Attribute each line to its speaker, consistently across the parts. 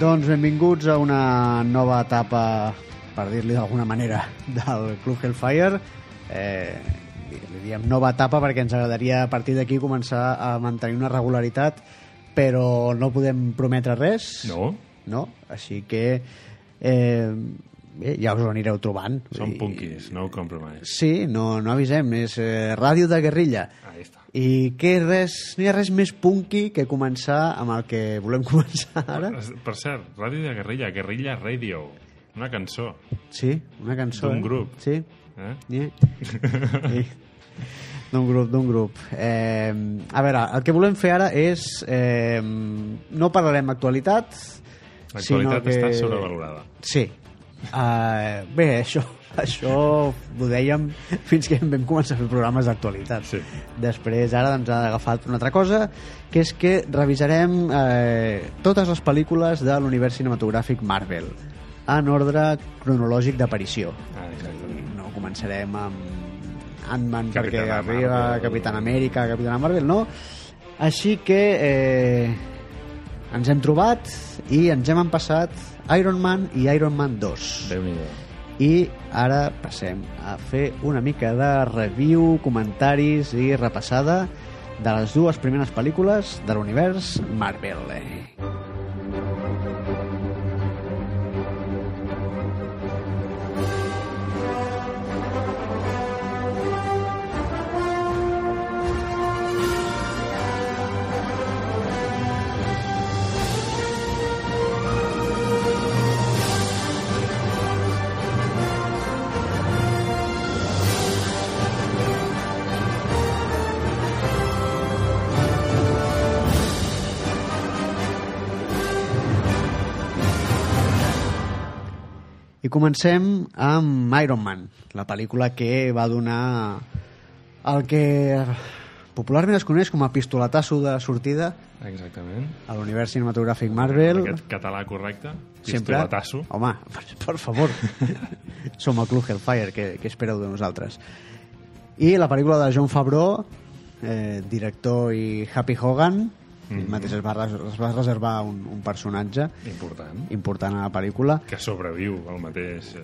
Speaker 1: Doncs benvinguts a una nova etapa, per dir-li d'alguna manera, del Club Hellfire. Eh, li diem nova etapa perquè ens agradaria a partir d'aquí començar a mantenir una regularitat, però no podem prometre res.
Speaker 2: No.
Speaker 1: No? Així que... Eh, bé, ja us ho anireu trobant.
Speaker 2: Són
Speaker 1: I-
Speaker 2: punkis, no compromise.
Speaker 1: Sí, no, no avisem, és eh, ràdio de guerrilla.
Speaker 2: Ahí està.
Speaker 1: I que res, no hi ha res més punky que començar amb el que volem començar ara.
Speaker 2: Per cert, Ràdio de Guerrilla, Guerrilla Radio. Una cançó.
Speaker 1: Sí, una cançó.
Speaker 2: D'un
Speaker 1: eh?
Speaker 2: grup.
Speaker 1: Sí.
Speaker 2: Eh?
Speaker 1: Yeah. sí. D'un grup, d'un grup. Eh, a veure, el que volem fer ara és... Eh, no parlarem actualitat, sinó
Speaker 2: L'actualitat
Speaker 1: que...
Speaker 2: està sobrevalorada.
Speaker 1: Sí. Uh, bé, això, això ho dèiem fins que vam començar a fer programes d'actualitat.
Speaker 2: Sí.
Speaker 1: Després ara ens ha agafat una altra cosa, que és que revisarem eh, totes les pel·lícules de l'univers cinematogràfic Marvel en ordre cronològic d'aparició.
Speaker 2: Ah, exacte.
Speaker 1: No començarem amb Ant-Man perquè
Speaker 2: Capitana
Speaker 1: arriba,
Speaker 2: Marvel.
Speaker 1: Capitán Amèrica, Capitana Marvel, no? Així que eh, ens hem trobat i ens hem empassat Iron Man i Iron Man 2.
Speaker 2: Déu-n'hi-do.
Speaker 1: I ara passem a fer una mica de review, comentaris i repassada de les dues primeres pel·lícules de l'univers Marvel. I comencem amb Iron Man, la pel·lícula que va donar el que popularment es coneix com a pistoletasso de sortida
Speaker 2: Exactament.
Speaker 1: a l'univers cinematogràfic Marvel.
Speaker 2: Aquest català correcte.
Speaker 1: Sempre.
Speaker 2: Pistoletasso.
Speaker 1: Home, per, per favor. Som el Club Hellfire, que, que espereu de nosaltres. I la pel·lícula de John Favreau, eh, director i Happy Hogan, mm -hmm.
Speaker 2: Mhm.
Speaker 1: ell mateix es va, res- es va reservar un, un personatge
Speaker 2: Important.
Speaker 1: important a la pel·lícula.
Speaker 2: Que sobreviu al mateix... Eh...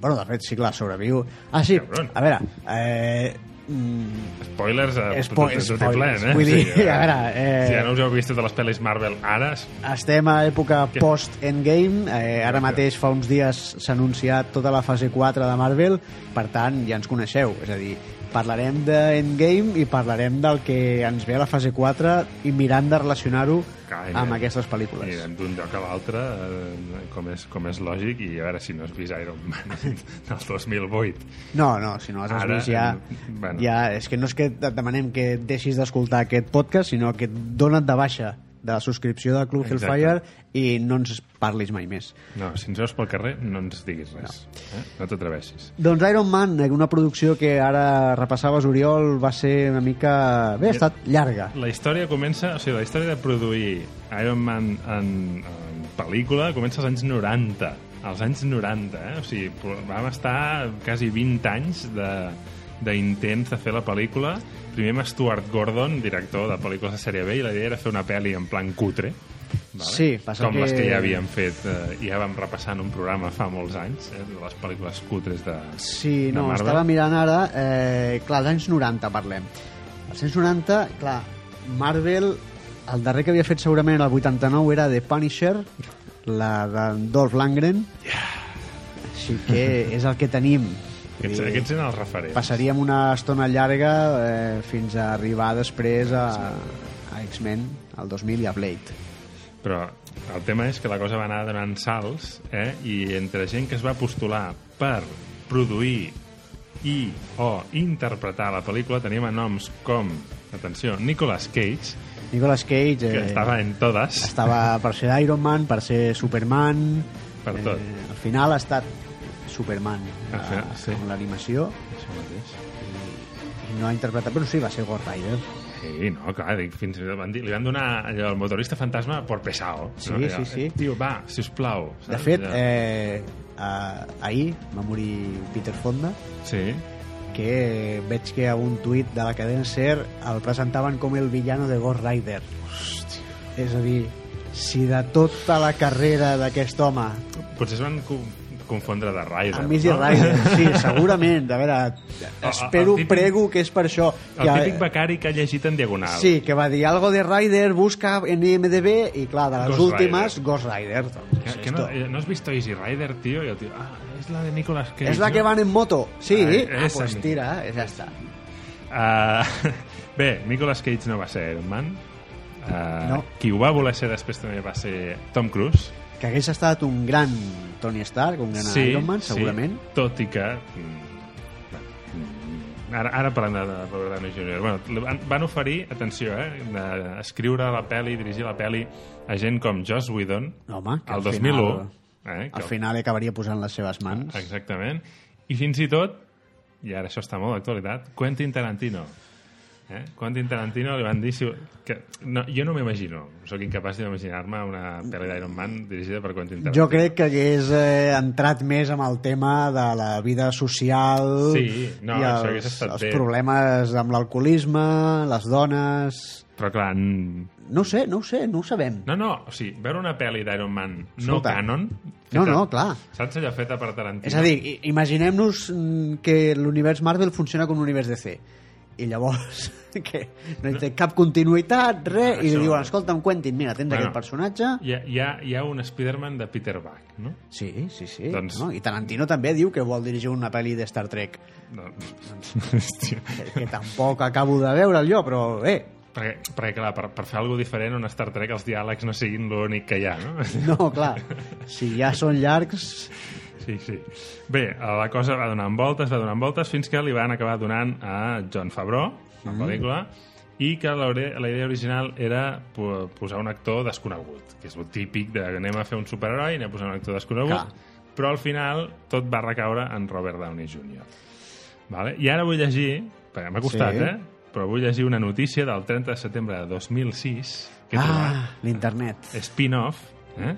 Speaker 1: Bueno, de fet, sí, clar, sobreviu. Ah, sí,
Speaker 2: Cabron.
Speaker 1: a veure... Eh, mm,
Speaker 2: Spoilers a
Speaker 1: Espo-
Speaker 2: tot- tot i
Speaker 1: spoilers,
Speaker 2: eh?
Speaker 1: vull dir, a veure, eh,
Speaker 2: Si ja no us heu vist totes les pel·lis Marvel ara,
Speaker 1: Estem a època
Speaker 2: Què?
Speaker 1: post-Endgame. Eh, ara mateix fa uns dies s'ha anunciat tota la fase 4 de Marvel, per tant, ja ens coneixeu. És a dir, parlarem d'Endgame i parlarem del que ens ve a la fase 4 i mirant de relacionar-ho
Speaker 2: Clar,
Speaker 1: amb
Speaker 2: anirem-
Speaker 1: aquestes pel·lícules.
Speaker 2: anirem eh, d'un lloc a l'altre, eh, com, és, com és lògic, i a veure si no has vist Iron Man del 2008.
Speaker 1: No, no, si no les has
Speaker 2: Ara, eh,
Speaker 1: vist ja,
Speaker 2: bueno.
Speaker 1: ja... És que no és que et demanem que et deixis d'escoltar aquest podcast, sinó que et dona't de baixa de la subscripció del Club
Speaker 2: Exacte.
Speaker 1: Hellfire i no ens parlis mai més.
Speaker 2: No, si ens veus pel carrer, no ens diguis res. No, eh? no t'atreveixis.
Speaker 1: Doncs Iron Man, una producció que ara repassaves, Oriol, va ser una mica... Bé, ha estat llarga.
Speaker 2: La història comença... O sigui, la història de produir Iron Man en, en pel·lícula comença als anys 90. Als anys 90, eh? O sigui, pro- vam estar quasi 20 anys de d'intents de fer la pel·lícula. Primer amb Stuart Gordon, director de pel·lícules de sèrie B, i la idea era fer una pel·li en plan cutre. Vale?
Speaker 1: Sí, passa
Speaker 2: Com
Speaker 1: que-
Speaker 2: les que ja havíem fet, eh, ja vam repassar en un programa fa molts anys, eh, de les pel·lícules cutres de,
Speaker 1: Sí,
Speaker 2: de
Speaker 1: no,
Speaker 2: Marvel.
Speaker 1: estava mirant ara... Eh, clar, als anys 90 parlem. Als anys 90, clar, Marvel, el darrer que havia fet segurament el 89 era The Punisher, la de Dolph Lundgren. Així que és el que tenim.
Speaker 2: Aquests,
Speaker 1: I
Speaker 2: aquests eren els referents.
Speaker 1: Passaríem una estona llarga eh, fins a arribar després a, a X-Men, al 2000 i a Blade.
Speaker 2: Però el tema és que la cosa va anar donant salts eh? i entre gent que es va postular per produir i o interpretar la pel·lícula teníem a noms com, atenció, Nicolas Cage,
Speaker 1: Nicolas Cage
Speaker 2: que
Speaker 1: eh,
Speaker 2: estava en totes,
Speaker 1: estava per ser Iron Man, per ser Superman...
Speaker 2: Per tot.
Speaker 1: Eh, al final ha estat Superman
Speaker 2: Al final,
Speaker 1: eh,
Speaker 2: sí.
Speaker 1: amb l'animació
Speaker 2: Això mateix.
Speaker 1: i no ha interpretat, però sí, va ser Ghost Rider.
Speaker 2: Sí, no, clar, dic, fins i tot van dir, li van donar allò, el motorista fantasma por pesado.
Speaker 1: Sí,
Speaker 2: no? Allò,
Speaker 1: sí, sí.
Speaker 2: eh, Tio, va, sisplau.
Speaker 1: De
Speaker 2: saps?
Speaker 1: fet,
Speaker 2: Allò.
Speaker 1: eh, a, ahir va morir Peter Fonda,
Speaker 2: Sí,
Speaker 1: que veig que a un tuit de la cadena SER el presentaven com el villano de Ghost Rider. Hòstia. És a dir, si de tota la carrera d'aquest home
Speaker 2: Potser es van co- confondre de Rider.
Speaker 1: amb Easy Rider, sí, segurament a veure, espero,
Speaker 2: el típic-
Speaker 1: prego que és per això
Speaker 2: El típic becari que ha llegit en diagonal.
Speaker 1: Sí, que va dir algo de Rider, busca en IMDB i clar, de les
Speaker 2: Ghost
Speaker 1: últimes, Ghost Rider.
Speaker 2: Que,
Speaker 1: Doncs,
Speaker 2: que no,
Speaker 1: esto.
Speaker 2: eh, no has visto Easy Rider, tío? I el tio, ah, és la de Nicolas Cage.
Speaker 1: és la
Speaker 2: no?
Speaker 1: que van en moto. Sí,
Speaker 2: Ai,
Speaker 1: ah,
Speaker 2: esa
Speaker 1: pues
Speaker 2: mi-
Speaker 1: tira, ja està.
Speaker 2: Ah, bé, Nicolas Cage no va ser Iron Man. Ah,
Speaker 1: No.
Speaker 2: Qui ho va voler ser després també va ser Tom Cruise.
Speaker 1: Que hagués estat un gran Tony Stark, un gran Iron Man, segurament.
Speaker 2: Sí, tot i que... mm, bueno, mm, Ara, ara parlem de, de Robert Downey Jr. Bueno, li van, van oferir, atenció, eh, de- escriure la pel·li, dirigir la pel·li a gent com Joss Whedon
Speaker 1: Home, que
Speaker 2: al
Speaker 1: al
Speaker 2: 2001. eh,
Speaker 1: Al final acabaria posant les seves mans.
Speaker 2: Exactament. I fins i tot, i ara això està molt d'actualitat, Quentin Tarantino. Eh? Quentin Tarantino li van dir... Si, que, no, jo no m'imagino, sóc incapaç d'imaginar-me una pel·li d'Iron Man dirigida per Quentin Tarantino.
Speaker 1: Jo crec que hagués eh, entrat més amb el tema de la vida social
Speaker 2: Sí, no,
Speaker 1: i
Speaker 2: això
Speaker 1: els,
Speaker 2: hagués estat
Speaker 1: els
Speaker 2: bé.
Speaker 1: problemes amb l'alcoholisme, les dones...
Speaker 2: Però clar, n-
Speaker 1: No ho sé, no ho sé, no ho sabem.
Speaker 2: no, no, o sigui, veure una pel·li d'Iron Man no
Speaker 1: Escolta.
Speaker 2: canon...
Speaker 1: No, no, clar.
Speaker 2: Saps allò feta per Tarantino?
Speaker 1: És a dir, i- imaginem-nos mm, que l'univers Marvel funciona com un univers DC i llavors que no hi té cap continuïtat, res, i
Speaker 2: Això-
Speaker 1: li diuen, escolta'm, Quentin, mira, tens
Speaker 2: Bueno.
Speaker 1: aquest personatje...
Speaker 2: Hi ha, hi, ha, hi ha un Spider-Man de Peter Buck, no?
Speaker 1: Sí, sí, sí.
Speaker 2: Doncs-
Speaker 1: No? I Tarantino també diu que vol dirigir una pel·li de Star Trek,
Speaker 2: no. Hòstia.
Speaker 1: que, que tampoc acabo de veure jo, però bé,
Speaker 2: Perquè, perquè clar, per, per fer alguna cosa diferent on Star Trek els diàlegs no siguin l'únic que hi ha, no?
Speaker 1: no, clar, si ja són llargs...
Speaker 2: Sí, sí. Bé, eh, la cosa va donant voltes, va donant voltes, fins que li van acabar donant a John Favreau, la
Speaker 1: Mm.
Speaker 2: pel·lícula, i que la, ore- la idea original era po- posar un actor desconegut, que és el típic de anem a fer un superheroi i anem a posar un actor desconegut,
Speaker 1: Clar.
Speaker 2: però al final tot va recaure en Robert Downey Jr. Vale? I ara vull llegir, perquè m'ha costat,
Speaker 1: Sí.
Speaker 2: eh? però vull llegir una notícia del 30 de setembre de 2006 que he trobat
Speaker 1: Ah, l'internet.
Speaker 2: spin-off, eh?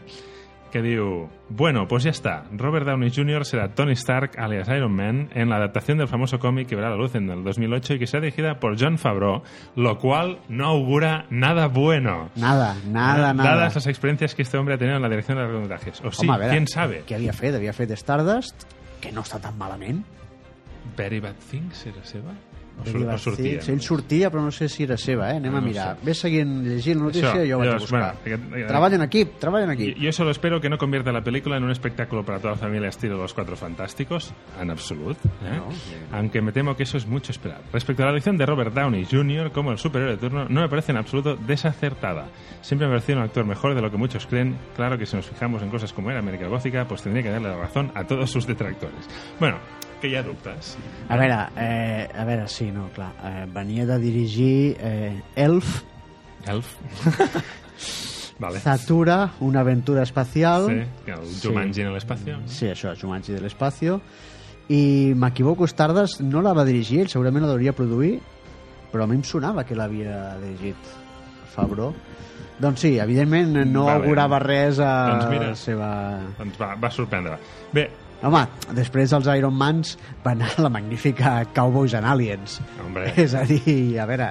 Speaker 2: que diu, bueno, pues ya está, Robert Downey Jr. será Tony Stark, alias Iron Man, en la adaptación del famoso cómic que verá la luz en el 2008 y que será dirigida por John Favreau, lo cual no augura nada bueno.
Speaker 1: Nada, nada,
Speaker 2: Eh,
Speaker 1: nada.
Speaker 2: Dadas las experiencias que este hombre ha tenido en la dirección de largometrajes. O sí,
Speaker 1: Home, a veure,
Speaker 2: quién sabe.
Speaker 1: Què havia fet? Havia fet Stardust, que no està tan malament.
Speaker 2: Very Bad Things era seva? O, sur
Speaker 1: Ell va
Speaker 2: o sortia?
Speaker 1: fer- Ell sortia, però no sé si era seva, eh? Anem
Speaker 2: No
Speaker 1: a
Speaker 2: ho
Speaker 1: mirar. Ves seguint llegint la notícia
Speaker 2: Això,
Speaker 1: i jo ho vaig a
Speaker 2: llavors,
Speaker 1: buscar.
Speaker 2: bueno, aquest-
Speaker 1: Treballa en equip, treballa en
Speaker 2: Y-
Speaker 1: equip.
Speaker 2: Yo solo espero que no convierta la película en un espectáculo para toda la familia estilo Los Cuatro Fantásticos, en absoluto. ¿eh?
Speaker 1: No, sí.
Speaker 2: Aunque me temo que eso es mucho esperar. Respecto a la elección de Robert Downey Jr. como el superhéroe de turno, no me parece en absoluto desacertada. Siempre me ha parecido un actor mejor de lo que muchos creen. Claro que si nos fijamos en cosas como era América Gótica, pues tendría que darle la razón a todos sus detractores. Bueno, que ya dubtas.
Speaker 1: A veure, eh, a veure, sí, no, clar. Eh, venia de dirigir eh, Elf,
Speaker 2: Elf. vale.
Speaker 1: Zatura, una aventura espacial...
Speaker 2: Sí, que el Jumanji en el espacio. ¿no?
Speaker 1: Sí, això, Jumanji de l'espacio. I m'equivoco, Stardust no la va dirigir, ell segurament la devia produir, però a mi em sonava que l'havia dirigit Fabro. Doncs sí, evidentment no
Speaker 2: Va bé.
Speaker 1: augurava res a
Speaker 2: Doncs mira.
Speaker 1: la seva...
Speaker 2: Doncs va, va sorprendre. Bé,
Speaker 1: Home, després els Iron Mans van anar a la magnífica Cowboys and Aliens.
Speaker 2: Hombre.
Speaker 1: És a dir, a veure...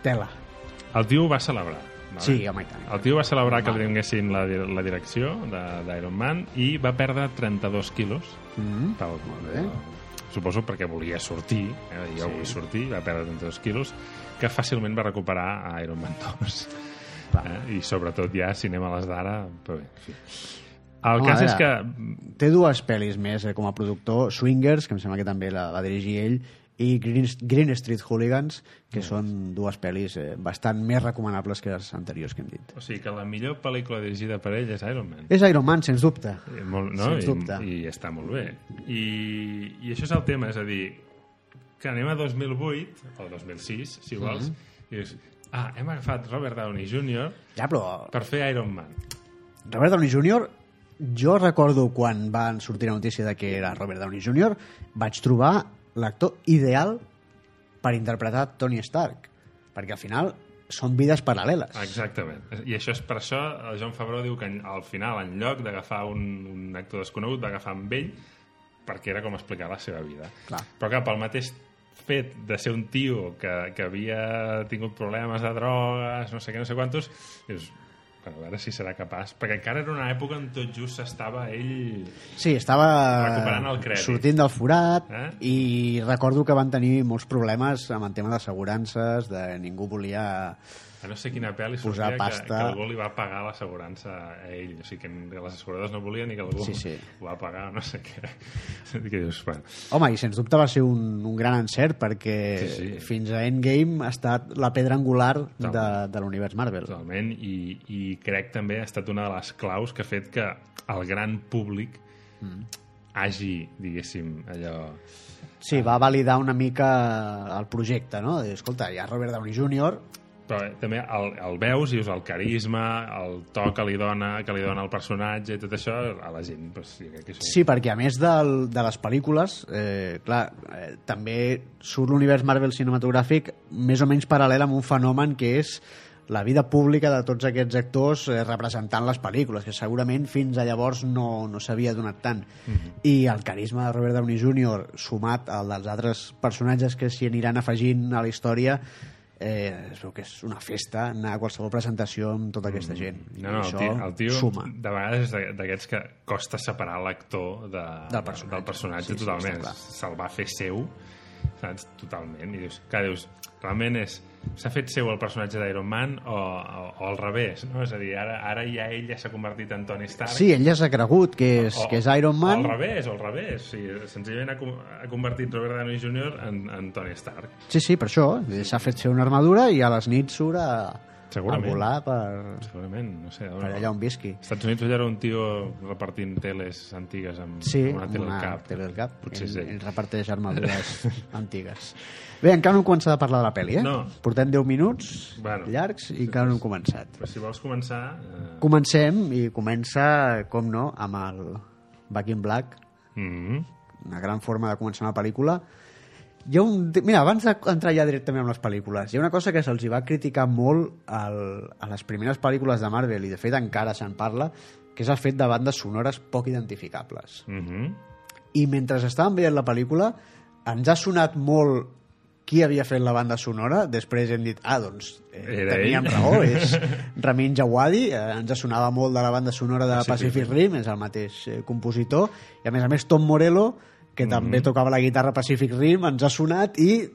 Speaker 1: Tela.
Speaker 2: El tio ho va celebrar. Vale?
Speaker 1: Sí, home, i tant.
Speaker 2: El tio va celebrar que li donguessin la, di- la direcció de- d'Iron Man i va perdre 32 quilos.
Speaker 1: Mm.
Speaker 2: Tal, eh,
Speaker 1: bé.
Speaker 2: Suposo perquè volia sortir, eh? jo sí. vull sortir, va perdre 32 quilos, que fàcilment va recuperar a Iron Man 2.
Speaker 1: Va.
Speaker 2: Eh? I sobretot ja, si anem a les d'ara... Però bé, en fi. El
Speaker 1: Home,
Speaker 2: cas
Speaker 1: a
Speaker 2: és que...
Speaker 1: veure. Té dues pel·lis més eh, com a productor, Swingers, que em sembla que també la va dirigir ell, i Green, Green Street Hooligans, que són dues pel·lis eh, bastant més recomanables que les anteriors que hem dit.
Speaker 2: O sigui, que la millor pel·lícula dirigida per ell és Iron Man.
Speaker 1: És Iron Man, sens dubte.
Speaker 2: Eh, Molt, no?
Speaker 1: Sens dubte.
Speaker 2: I, I està molt bé. I, I això és el tema, és a dir, que anem a 2008, o 2006, si vols,
Speaker 1: Mhm.
Speaker 2: i dius, ah, hem agafat Robert Downey Jr.
Speaker 1: Ja, però
Speaker 2: per fer Iron Man.
Speaker 1: Robert Downey Jr., jo recordo quan van sortir la notícia de que era Robert Downey Jr., vaig trobar l'actor ideal per interpretar Tony Stark, perquè al final són vides paral·leles.
Speaker 2: Exactament. I això és per això, el John Favreau diu que en- al final, en lloc d'agafar un, un actor desconegut, va agafar amb ell perquè era com explicar la seva vida.
Speaker 1: Clar.
Speaker 2: Però clar, pel mateix fet de ser un tio que, que havia tingut problemes de drogues, no sé què, no sé quantos, dius, bueno, a veure si serà capaç. Perquè encara era una època en tot just estava ell...
Speaker 1: Sí, estava
Speaker 2: Recuperant el crèdit.
Speaker 1: sortint del forat eh?
Speaker 2: Eh?
Speaker 1: i recordo que van tenir molts problemes amb el tema d'assegurances, de ningú volia...
Speaker 2: A no sé quina pel·li
Speaker 1: Posar
Speaker 2: sortia
Speaker 1: pasta.
Speaker 2: que, que algú li va pagar l'assegurança a ell. O sigui, que les asseguradores no volien ni que algú
Speaker 1: Sí, sí.
Speaker 2: ho va pagar, no sé què. Que dius, bueno,
Speaker 1: Home, i sens dubte va ser un, un gran encert perquè
Speaker 2: Sí, sí.
Speaker 1: fins a Endgame ha estat la pedra angular de,
Speaker 2: Totalment.
Speaker 1: de l'univers Marvel.
Speaker 2: totalment. I, I crec també ha estat una de les claus que ha fet que el gran públic hagi, diguéssim, allò...
Speaker 1: Sí, va validar una mica el projecte, no? De dir, escolta, hi ha Robert Downey Jr.,
Speaker 2: Però eh, també el, el veus i us el carisma, el to que li dona, que li dona el personatge i tot això, a la gent, doncs, jo crec que és un-
Speaker 1: Sí, perquè a més del, de les pel·lícules, eh, clar, eh, també surt l'univers Marvel cinematogràfic més o menys paral·lel amb un fenomen que és la vida pública de tots aquests actors eh, representant les pel·lícules, que segurament fins a llavors no, no s'havia donat tant.
Speaker 2: Mhm.
Speaker 1: I el carisma de Robert Downey Jr. sumat al dels altres personatges que s'hi aniran afegint a la història, eh, es veu que és una festa anar a qualsevol presentació amb tota aquesta gent.
Speaker 2: Mm. No,
Speaker 1: I
Speaker 2: no, el
Speaker 1: això
Speaker 2: tio, el tio
Speaker 1: suma.
Speaker 2: de vegades és d'a- d'aquests que costa separar l'actor de,
Speaker 1: Del personatge.
Speaker 2: del personatge
Speaker 1: Sí, sí,
Speaker 2: totalment.
Speaker 1: està clar.
Speaker 2: Se'l va fer seu, saps? Totalment. I dius, clar, dius, realment és... S'ha fet seu el personatge d'Iron Man o, o, o al revés, no? És a dir, ara, ara ja ell ja s'ha convertit en Tony Stark.
Speaker 1: Sí, ell ja s'ha cregut que és, que és Iron Man.
Speaker 2: O al revés, o al revés. Sí, senzillament ha, com- ha convertit Robert Downey Jr. en, en Tony Stark.
Speaker 1: Sí, sí, per això. eh, S'ha fet ser una armadura i a les nits surt a, a
Speaker 2: Segurament.
Speaker 1: volar per,
Speaker 2: Segurament, no sé.
Speaker 1: per allà on visqui.
Speaker 2: Als Estats Units allà era un tio repartint teles antigues amb,
Speaker 1: Sí,
Speaker 2: amb una tele al cap.
Speaker 1: tele al cap.
Speaker 2: Potser
Speaker 1: ell,
Speaker 2: és ell.
Speaker 1: ell reparteix armadures antigues. Bé, encara no hem començat a parlar de la pel·li, eh?
Speaker 2: No.
Speaker 1: Portem 10 minuts
Speaker 2: Bueno.
Speaker 1: llargs i encara no hem començat.
Speaker 2: Però si vols començar... Eh...
Speaker 1: Comencem i comença, com no, amb el Back in Black,
Speaker 2: Mm -hmm.
Speaker 1: una gran forma de començar una pel·lícula hi ha un... Mira, abans d'entrar ja directament amb les pel·lícules, hi ha una cosa que se'ls hi va criticar molt al, a les primeres pel·lícules de Marvel, i de fet encara se'n parla, que és el fet de bandes sonores poc identificables.
Speaker 2: Mm -hmm.
Speaker 1: I mentre estàvem veient la pel·lícula, ens ha sonat molt qui havia fet la banda sonora, després hem dit, ah, doncs, eh,
Speaker 2: Era
Speaker 1: teníem
Speaker 2: ell.
Speaker 1: raó, és Ramin Djawadi, eh, ens sonava molt de la banda sonora de
Speaker 2: Pacific
Speaker 1: Pacific Rim, és el mateix eh, compositor, i a més a més Tom Morello, que
Speaker 2: Mhm.
Speaker 1: també tocava la guitarra Pacific Rim, ens ha sonat i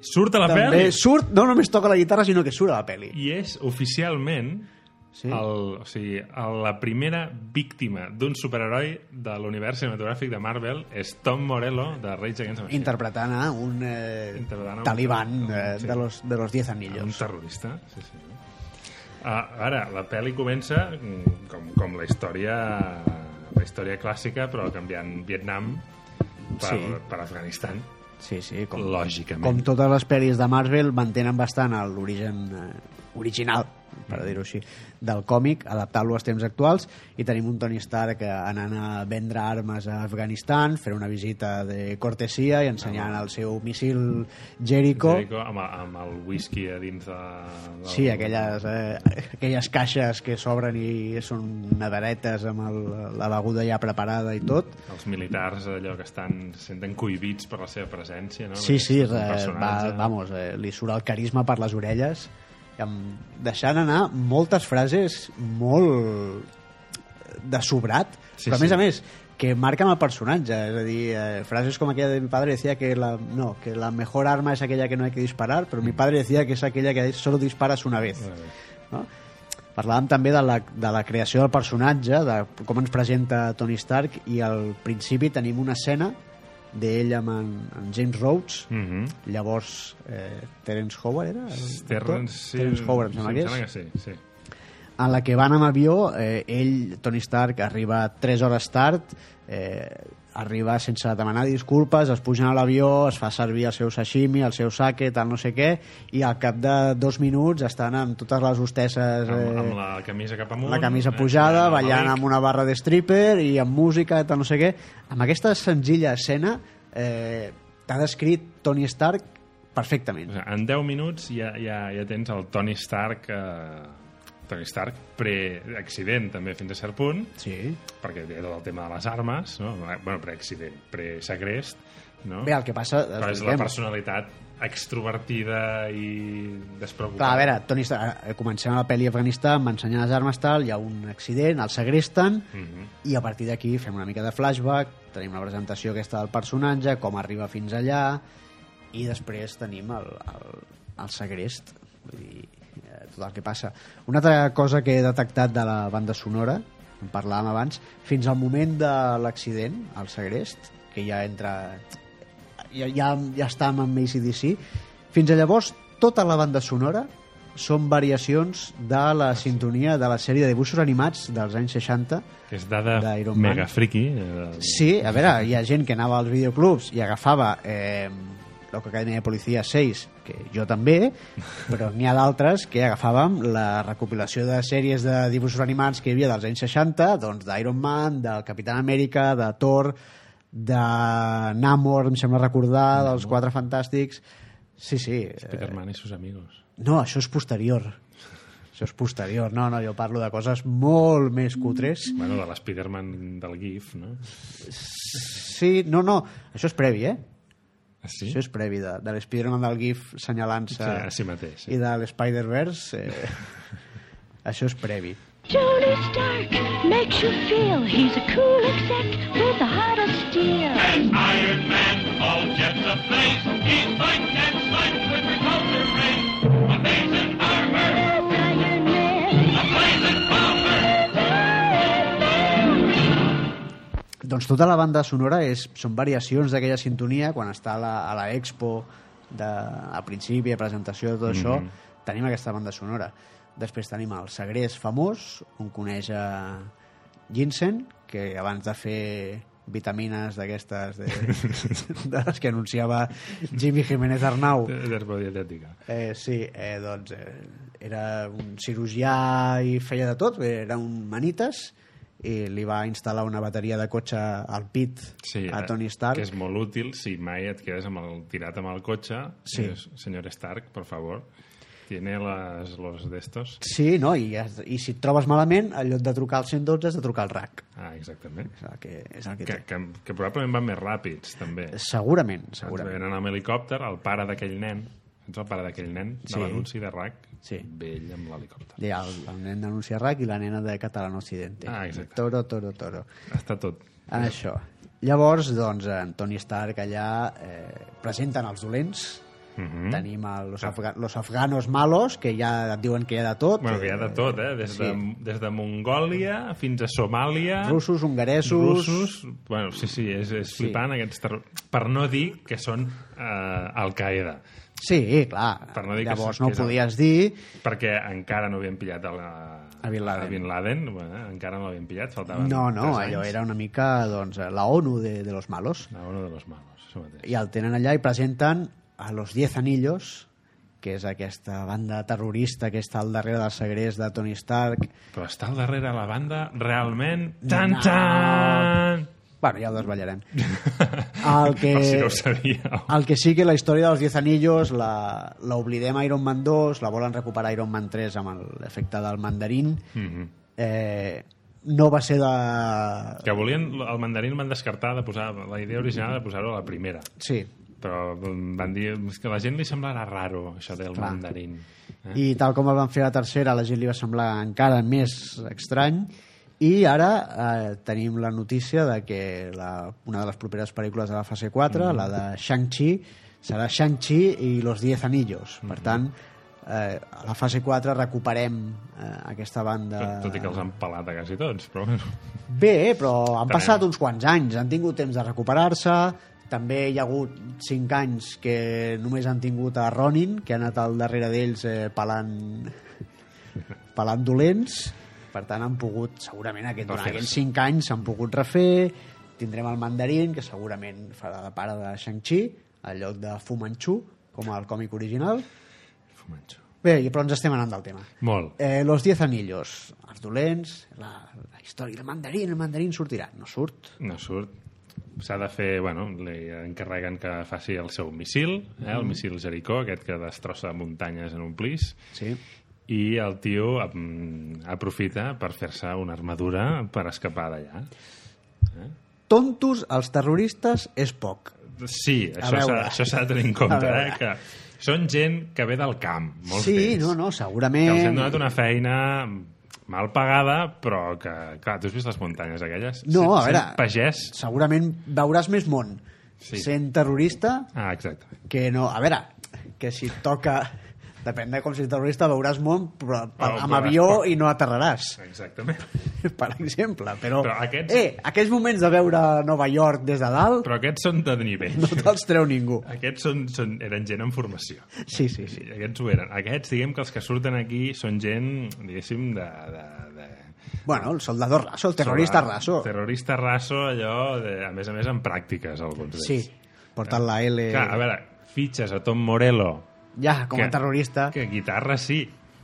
Speaker 2: Surt a la
Speaker 1: també
Speaker 2: pel·li!
Speaker 1: surt, no només toca la guitarra, sinó que surt a la pel·li.
Speaker 2: I és oficialment
Speaker 1: Sí.
Speaker 2: sí. el, o sigui, el, la primera víctima d'un superheroi de l'univers cinematogràfic de Marvel és Tom Morello de Rage Against the Machine.
Speaker 1: Interpretant a un eh,
Speaker 2: Interpretant a un-
Speaker 1: talibán eh,
Speaker 2: Sí.
Speaker 1: de, los, de los 10 anillos.
Speaker 2: Un terrorista, sí, sí. Ah, ara, la pel·li comença mm, com, com la història la història clàssica, però canviant Vietnam per,
Speaker 1: Sí.
Speaker 2: per Afganistan,
Speaker 1: Sí, sí, com,
Speaker 2: lògicament.
Speaker 1: com totes les pel·lis de Marvel mantenen bastant el- l'origen eh, original per dir-ho així, del còmic, adaptant-lo als temps actuals, i tenim un Tony Stark eh, anant a vendre armes a Afganistan, fer una visita de cortesia i ensenyant el seu missil Jericho,
Speaker 2: Jericho amb, amb el whisky a dins de... de
Speaker 1: sí, aquelles, eh, aquelles caixes que s'obren i són neveretes amb el, la beguda ja preparada i tot,
Speaker 2: Els militars, allò que estan, se senten cohibits per la seva presència, no?
Speaker 1: Sí,
Speaker 2: Perquè
Speaker 1: sí,
Speaker 2: és un
Speaker 1: re, va,
Speaker 2: personatge.
Speaker 1: vamos, eh, li surt el carisma per les orelles i amb, deixant anar moltes frases molt de sobrat,
Speaker 2: Sí,
Speaker 1: però a més
Speaker 2: sí.
Speaker 1: a més que marquen el personatge, és a dir, eh, frases com aquella de mi padre decía que la, no, que la mejor arma es aquella que no hay que disparar, però
Speaker 2: Mm.
Speaker 1: mi padre decía que es aquella que solo disparas una vez.
Speaker 2: Una vez.
Speaker 1: No? Parlàvem també de la, de la creació del personatge, de com ens presenta Tony Stark, i al principi tenim una escena d'ell amb en, en James Rhodes,
Speaker 2: Mhm.
Speaker 1: llavors eh, Terence Howard era? el actor?
Speaker 2: Terrence, sí,
Speaker 1: Terence Howard, em sembla
Speaker 2: sí,
Speaker 1: que
Speaker 2: em
Speaker 1: és.
Speaker 2: sembla que sí, sí.
Speaker 1: En la que van amb avió, eh, ell, Tony Stark, arriba 3 hores tard, eh, arriba sense demanar disculpes, es pugen a l'avió, es fa servir el seu sashimi, el seu sake, tal no sé què, i al cap de dos minuts estan amb totes les hostesses...
Speaker 2: Amb,
Speaker 1: eh,
Speaker 2: amb la camisa cap amunt.
Speaker 1: la camisa
Speaker 2: eh,
Speaker 1: pujada,
Speaker 2: amb el
Speaker 1: ballant
Speaker 2: mic.
Speaker 1: amb una barra de stripper i amb música, tal no sé què. Amb aquesta senzilla escena eh, t'ha descrit Tony Stark
Speaker 2: O
Speaker 1: perfectament.
Speaker 2: sigui, en 10 minuts ja, ja, ja tens el Tony Stark eh, Tony Stark pre-accident també fins a cert punt
Speaker 1: Sí.
Speaker 2: perquè té tot el tema de les armes no? bueno, pre-accident, pre-segrest no?
Speaker 1: Bé, el que passa...
Speaker 2: Però és la personalitat extrovertida i despreocupada.
Speaker 1: Clar, a veure, Tony Stark, eh, comencem la pel·li a Afganistan, m'ensenyen les armes, tal, hi ha un accident, el segresten,
Speaker 2: Mhm.
Speaker 1: i a partir d'aquí fem una mica de flashback, tenim la presentació aquesta del personatge, com arriba fins allà, i després tenim el, el, el segrest, vull dir, eh, tot el que passa. Una altra cosa que he detectat de la banda sonora, en parlàvem abans, fins al moment de l'accident, el segrest, que ja entra... Ja, ja, ja estàvem amb ACDC, fins a llavors tota la banda sonora són variacions de la sintonia de la sèrie de dibuixos animats dels anys 60
Speaker 2: Que és dada
Speaker 1: d'Iron Man.
Speaker 2: mega friki. eh,
Speaker 1: Sí, a veure, hi ha gent que anava als videoclubs i agafava eh, l'Acadèmia de Policia 6, que jo també, però n'hi ha d'altres que agafàvem la recopilació de sèries de dibuixos animats que hi havia dels anys 60, doncs d'Iron Man, del Capitán Amèrica, de Thor, de Namor, em sembla recordar, dels Quatre Fantàstics... Sí, sí. eh,
Speaker 2: Peterman i sus amigos.
Speaker 1: No, això és posterior. Això és posterior. No, no, jo parlo de coses molt més cutres.
Speaker 2: Bueno, de l'Spiderman del GIF, no?
Speaker 1: Sí, no, no, això és previ, eh?
Speaker 2: Ah, Sí?
Speaker 1: Això és previ de, de l'Spiderman del GIF
Speaker 2: Sí,
Speaker 1: senyalant-se
Speaker 2: a si mateix. Sí.
Speaker 1: i de l'Spider-Verse. Eh, això és previ.
Speaker 3: Tony Stark makes you feel he's a cool exec with a heart of steel.
Speaker 4: And Iron Man, all jets ablaze. He's fighting and fighting with repulsor rays. Amazing armor,
Speaker 3: Iron Man,
Speaker 4: a blazing bomber.
Speaker 1: Doncs tota la banda sonora és, són variacions d'aquella sintonia quan està a la, a la Expo de, a principi, a presentació de tot això,
Speaker 2: Mhm.
Speaker 1: tenim aquesta banda sonora. Després tenim el Segrest famós, on coneix a Ginseng, que abans de fer vitamines d'aquestes de, de les que anunciava Jimmy Jiménez Arnau
Speaker 2: D'herba dietètica.
Speaker 1: Eh, sí, eh, doncs eh, era un cirurgià i feia de tot, eh, era un manites i li va instal·lar una bateria de cotxe al pit
Speaker 2: Sí,
Speaker 1: a
Speaker 2: eh,
Speaker 1: Tony Stark.
Speaker 2: Que és molt útil si mai et quedes amb el, tirat amb el cotxe.
Speaker 1: Sí.
Speaker 2: i Dius, senyor Stark, por favor, tiene las, los de estos.
Speaker 1: Sí, no? I, es- i si et trobes malament, en lloc de trucar al 112 has de trucar al RAC.
Speaker 2: Ah, exactament.
Speaker 1: És el que, és el que,
Speaker 2: Que,
Speaker 1: té.
Speaker 2: que, que probablement van més ràpids, també.
Speaker 1: Segurament,
Speaker 2: Doncs
Speaker 1: segurament.
Speaker 2: Venen amb helicòpter, el pare d'aquell nen. Ets el pare d'aquell nen, de
Speaker 1: Sí.
Speaker 2: l'anunci de RAC,
Speaker 1: Sí.
Speaker 2: ve ell amb l'helicòpter.
Speaker 1: Hi ha el, el nen d'anunciar RAC i la nena de Catalano Occidente.
Speaker 2: Ah, exacte.
Speaker 1: Toro, toro, toro.
Speaker 2: Està tot.
Speaker 1: en això. Llavors, doncs, en Tony Stark allà eh, presenten els dolents,
Speaker 2: Mhm.
Speaker 1: Tenim el, los, afga los afganos malos, que ja et diuen que hi ha de tot.
Speaker 2: Bueno, que hi ha de tot, eh? Des de,
Speaker 1: Sí.
Speaker 2: des de Mongòlia fins a Somàlia...
Speaker 1: Russos, hongaresos...
Speaker 2: russos... Bueno, sí, sí, és, és flipant aquests terro... Per no dir que són eh, Al-Qaeda,
Speaker 1: Sí, clar.
Speaker 2: Per no dir que
Speaker 1: Llavors
Speaker 2: és-
Speaker 1: no
Speaker 2: que és el-
Speaker 1: podies dir...
Speaker 2: perquè encara no havien pillat a, la...
Speaker 1: A Bin Laden.
Speaker 2: A Bin Laden. Bueno, encara no l'havien pillat, faltaven
Speaker 1: No, no,
Speaker 2: tres
Speaker 1: allò
Speaker 2: anys.
Speaker 1: era una mica doncs, la ONU de, de los malos.
Speaker 2: La ONU de los malos, això mateix.
Speaker 1: I el tenen allà i presenten a Los Diez Anillos, que és aquesta banda terrorista que està al darrere del segrest de Tony Stark.
Speaker 2: Però està al darrere la banda realment... Tan,
Speaker 1: No.
Speaker 2: tan!
Speaker 1: Bueno, ja ho desvetllarem. El que...
Speaker 2: Per si no ho sabíeu.
Speaker 1: El que sí que la història dels 10 anillos la, la oblidem a Iron Man 2, la volen recuperar a Iron Man 3 amb l'efecte del mandarín.
Speaker 2: Mhm.
Speaker 1: Eh, no va ser de...
Speaker 2: Que volien... El mandarín van descartar de posar... La idea original era posar-ho a la primera.
Speaker 1: Sí.
Speaker 2: però mm, van dir "És que a la gent li semblarà raro això del
Speaker 1: Clar.
Speaker 2: mandarín eh?
Speaker 1: I tal com el van fer a la tercera, a la gent li va semblar encara més estrany. I ara eh, tenim la notícia de que la, una de les properes pel·lícules de la fase
Speaker 2: Mm.
Speaker 1: 4, la de Shang-Chi, serà Shang-Chi i los 10 anillos.
Speaker 2: Mm-hmm.
Speaker 1: Per tant, eh, a la fase 4 recuperem eh, aquesta banda...
Speaker 2: tot, tot i que els han pelat a quasi tots però bueno.
Speaker 1: Bé, però han
Speaker 2: També.
Speaker 1: passat uns quants anys, han tingut temps de recuperar-se, també hi ha hagut 5 anys que només han tingut a Ronin, que ha anat al darrere d'ells eh, pelant, pelant dolents, per tant han pogut, segurament aquest, durant
Speaker 2: Refer-se.
Speaker 1: aquests 5 anys s'han pogut refer, tindrem el mandarín, que segurament farà de pare de Shang-Chi, al lloc de Fu Manchu, com al còmic original.
Speaker 2: Fumancho.
Speaker 1: Bé, i- però ens estem anant del tema.
Speaker 2: molt
Speaker 1: Eh, los 10 anillos, els dolents, la, la història, el mandarín, el mandarín sortirà. No surt.
Speaker 2: no surt s'ha de fer, bueno, li encarreguen que faci el seu missil, eh?
Speaker 1: Mm.
Speaker 2: el missil Jericó, aquest que destrossa muntanyes en un plis,
Speaker 1: Sí.
Speaker 2: i el tio mm, aprofita per fer-se una armadura per escapar d'allà.
Speaker 1: Tontos, els terroristes, és poc.
Speaker 2: Sí, això s'ha
Speaker 1: veure.
Speaker 2: això s'ha de tenir en compte,
Speaker 1: A veure.
Speaker 2: eh? Que són gent que ve del camp, molts
Speaker 1: Sí,
Speaker 2: d'ells.
Speaker 1: no, no,
Speaker 2: Que
Speaker 1: segurament...
Speaker 2: els hem donat una feina mal pagada, però que, clar, tu has vist les muntanyes aquelles?
Speaker 1: No, a
Speaker 2: Sent-
Speaker 1: veure.
Speaker 2: sent Pagès...
Speaker 1: Segurament veuràs més món
Speaker 2: Sí.
Speaker 1: sent terrorista
Speaker 2: Ah, exacte.
Speaker 1: que no... A veure, que si et toca... Depèn de com si terrorista veuràs món però, per,
Speaker 2: Oh,
Speaker 1: amb
Speaker 2: clar.
Speaker 1: avió i no aterraràs,
Speaker 2: Exactament.
Speaker 1: per exemple. Però,
Speaker 2: Però aquests-
Speaker 1: eh, aquells moments de veure Nova York des de dalt
Speaker 2: Però aquests són de nivell.
Speaker 1: no te'ls treu ningú.
Speaker 2: Aquests són, són, eren gent en formació.
Speaker 1: Sí, sí,
Speaker 2: Sí,
Speaker 1: sí.
Speaker 2: aquests ho eren. Aquests, diguem que els que surten aquí són gent, diguéssim, de... de, de
Speaker 1: Bueno, el soldador raso, el terrorista raso.
Speaker 2: Terrorista raso, allò, de, a més a més, en pràctiques, alguns d'ells.
Speaker 1: Sí, portant la L...
Speaker 2: Clar, a veure, fitxes a Tom Morello.
Speaker 1: Ja, com a terrorista.
Speaker 2: Que guitarra sí,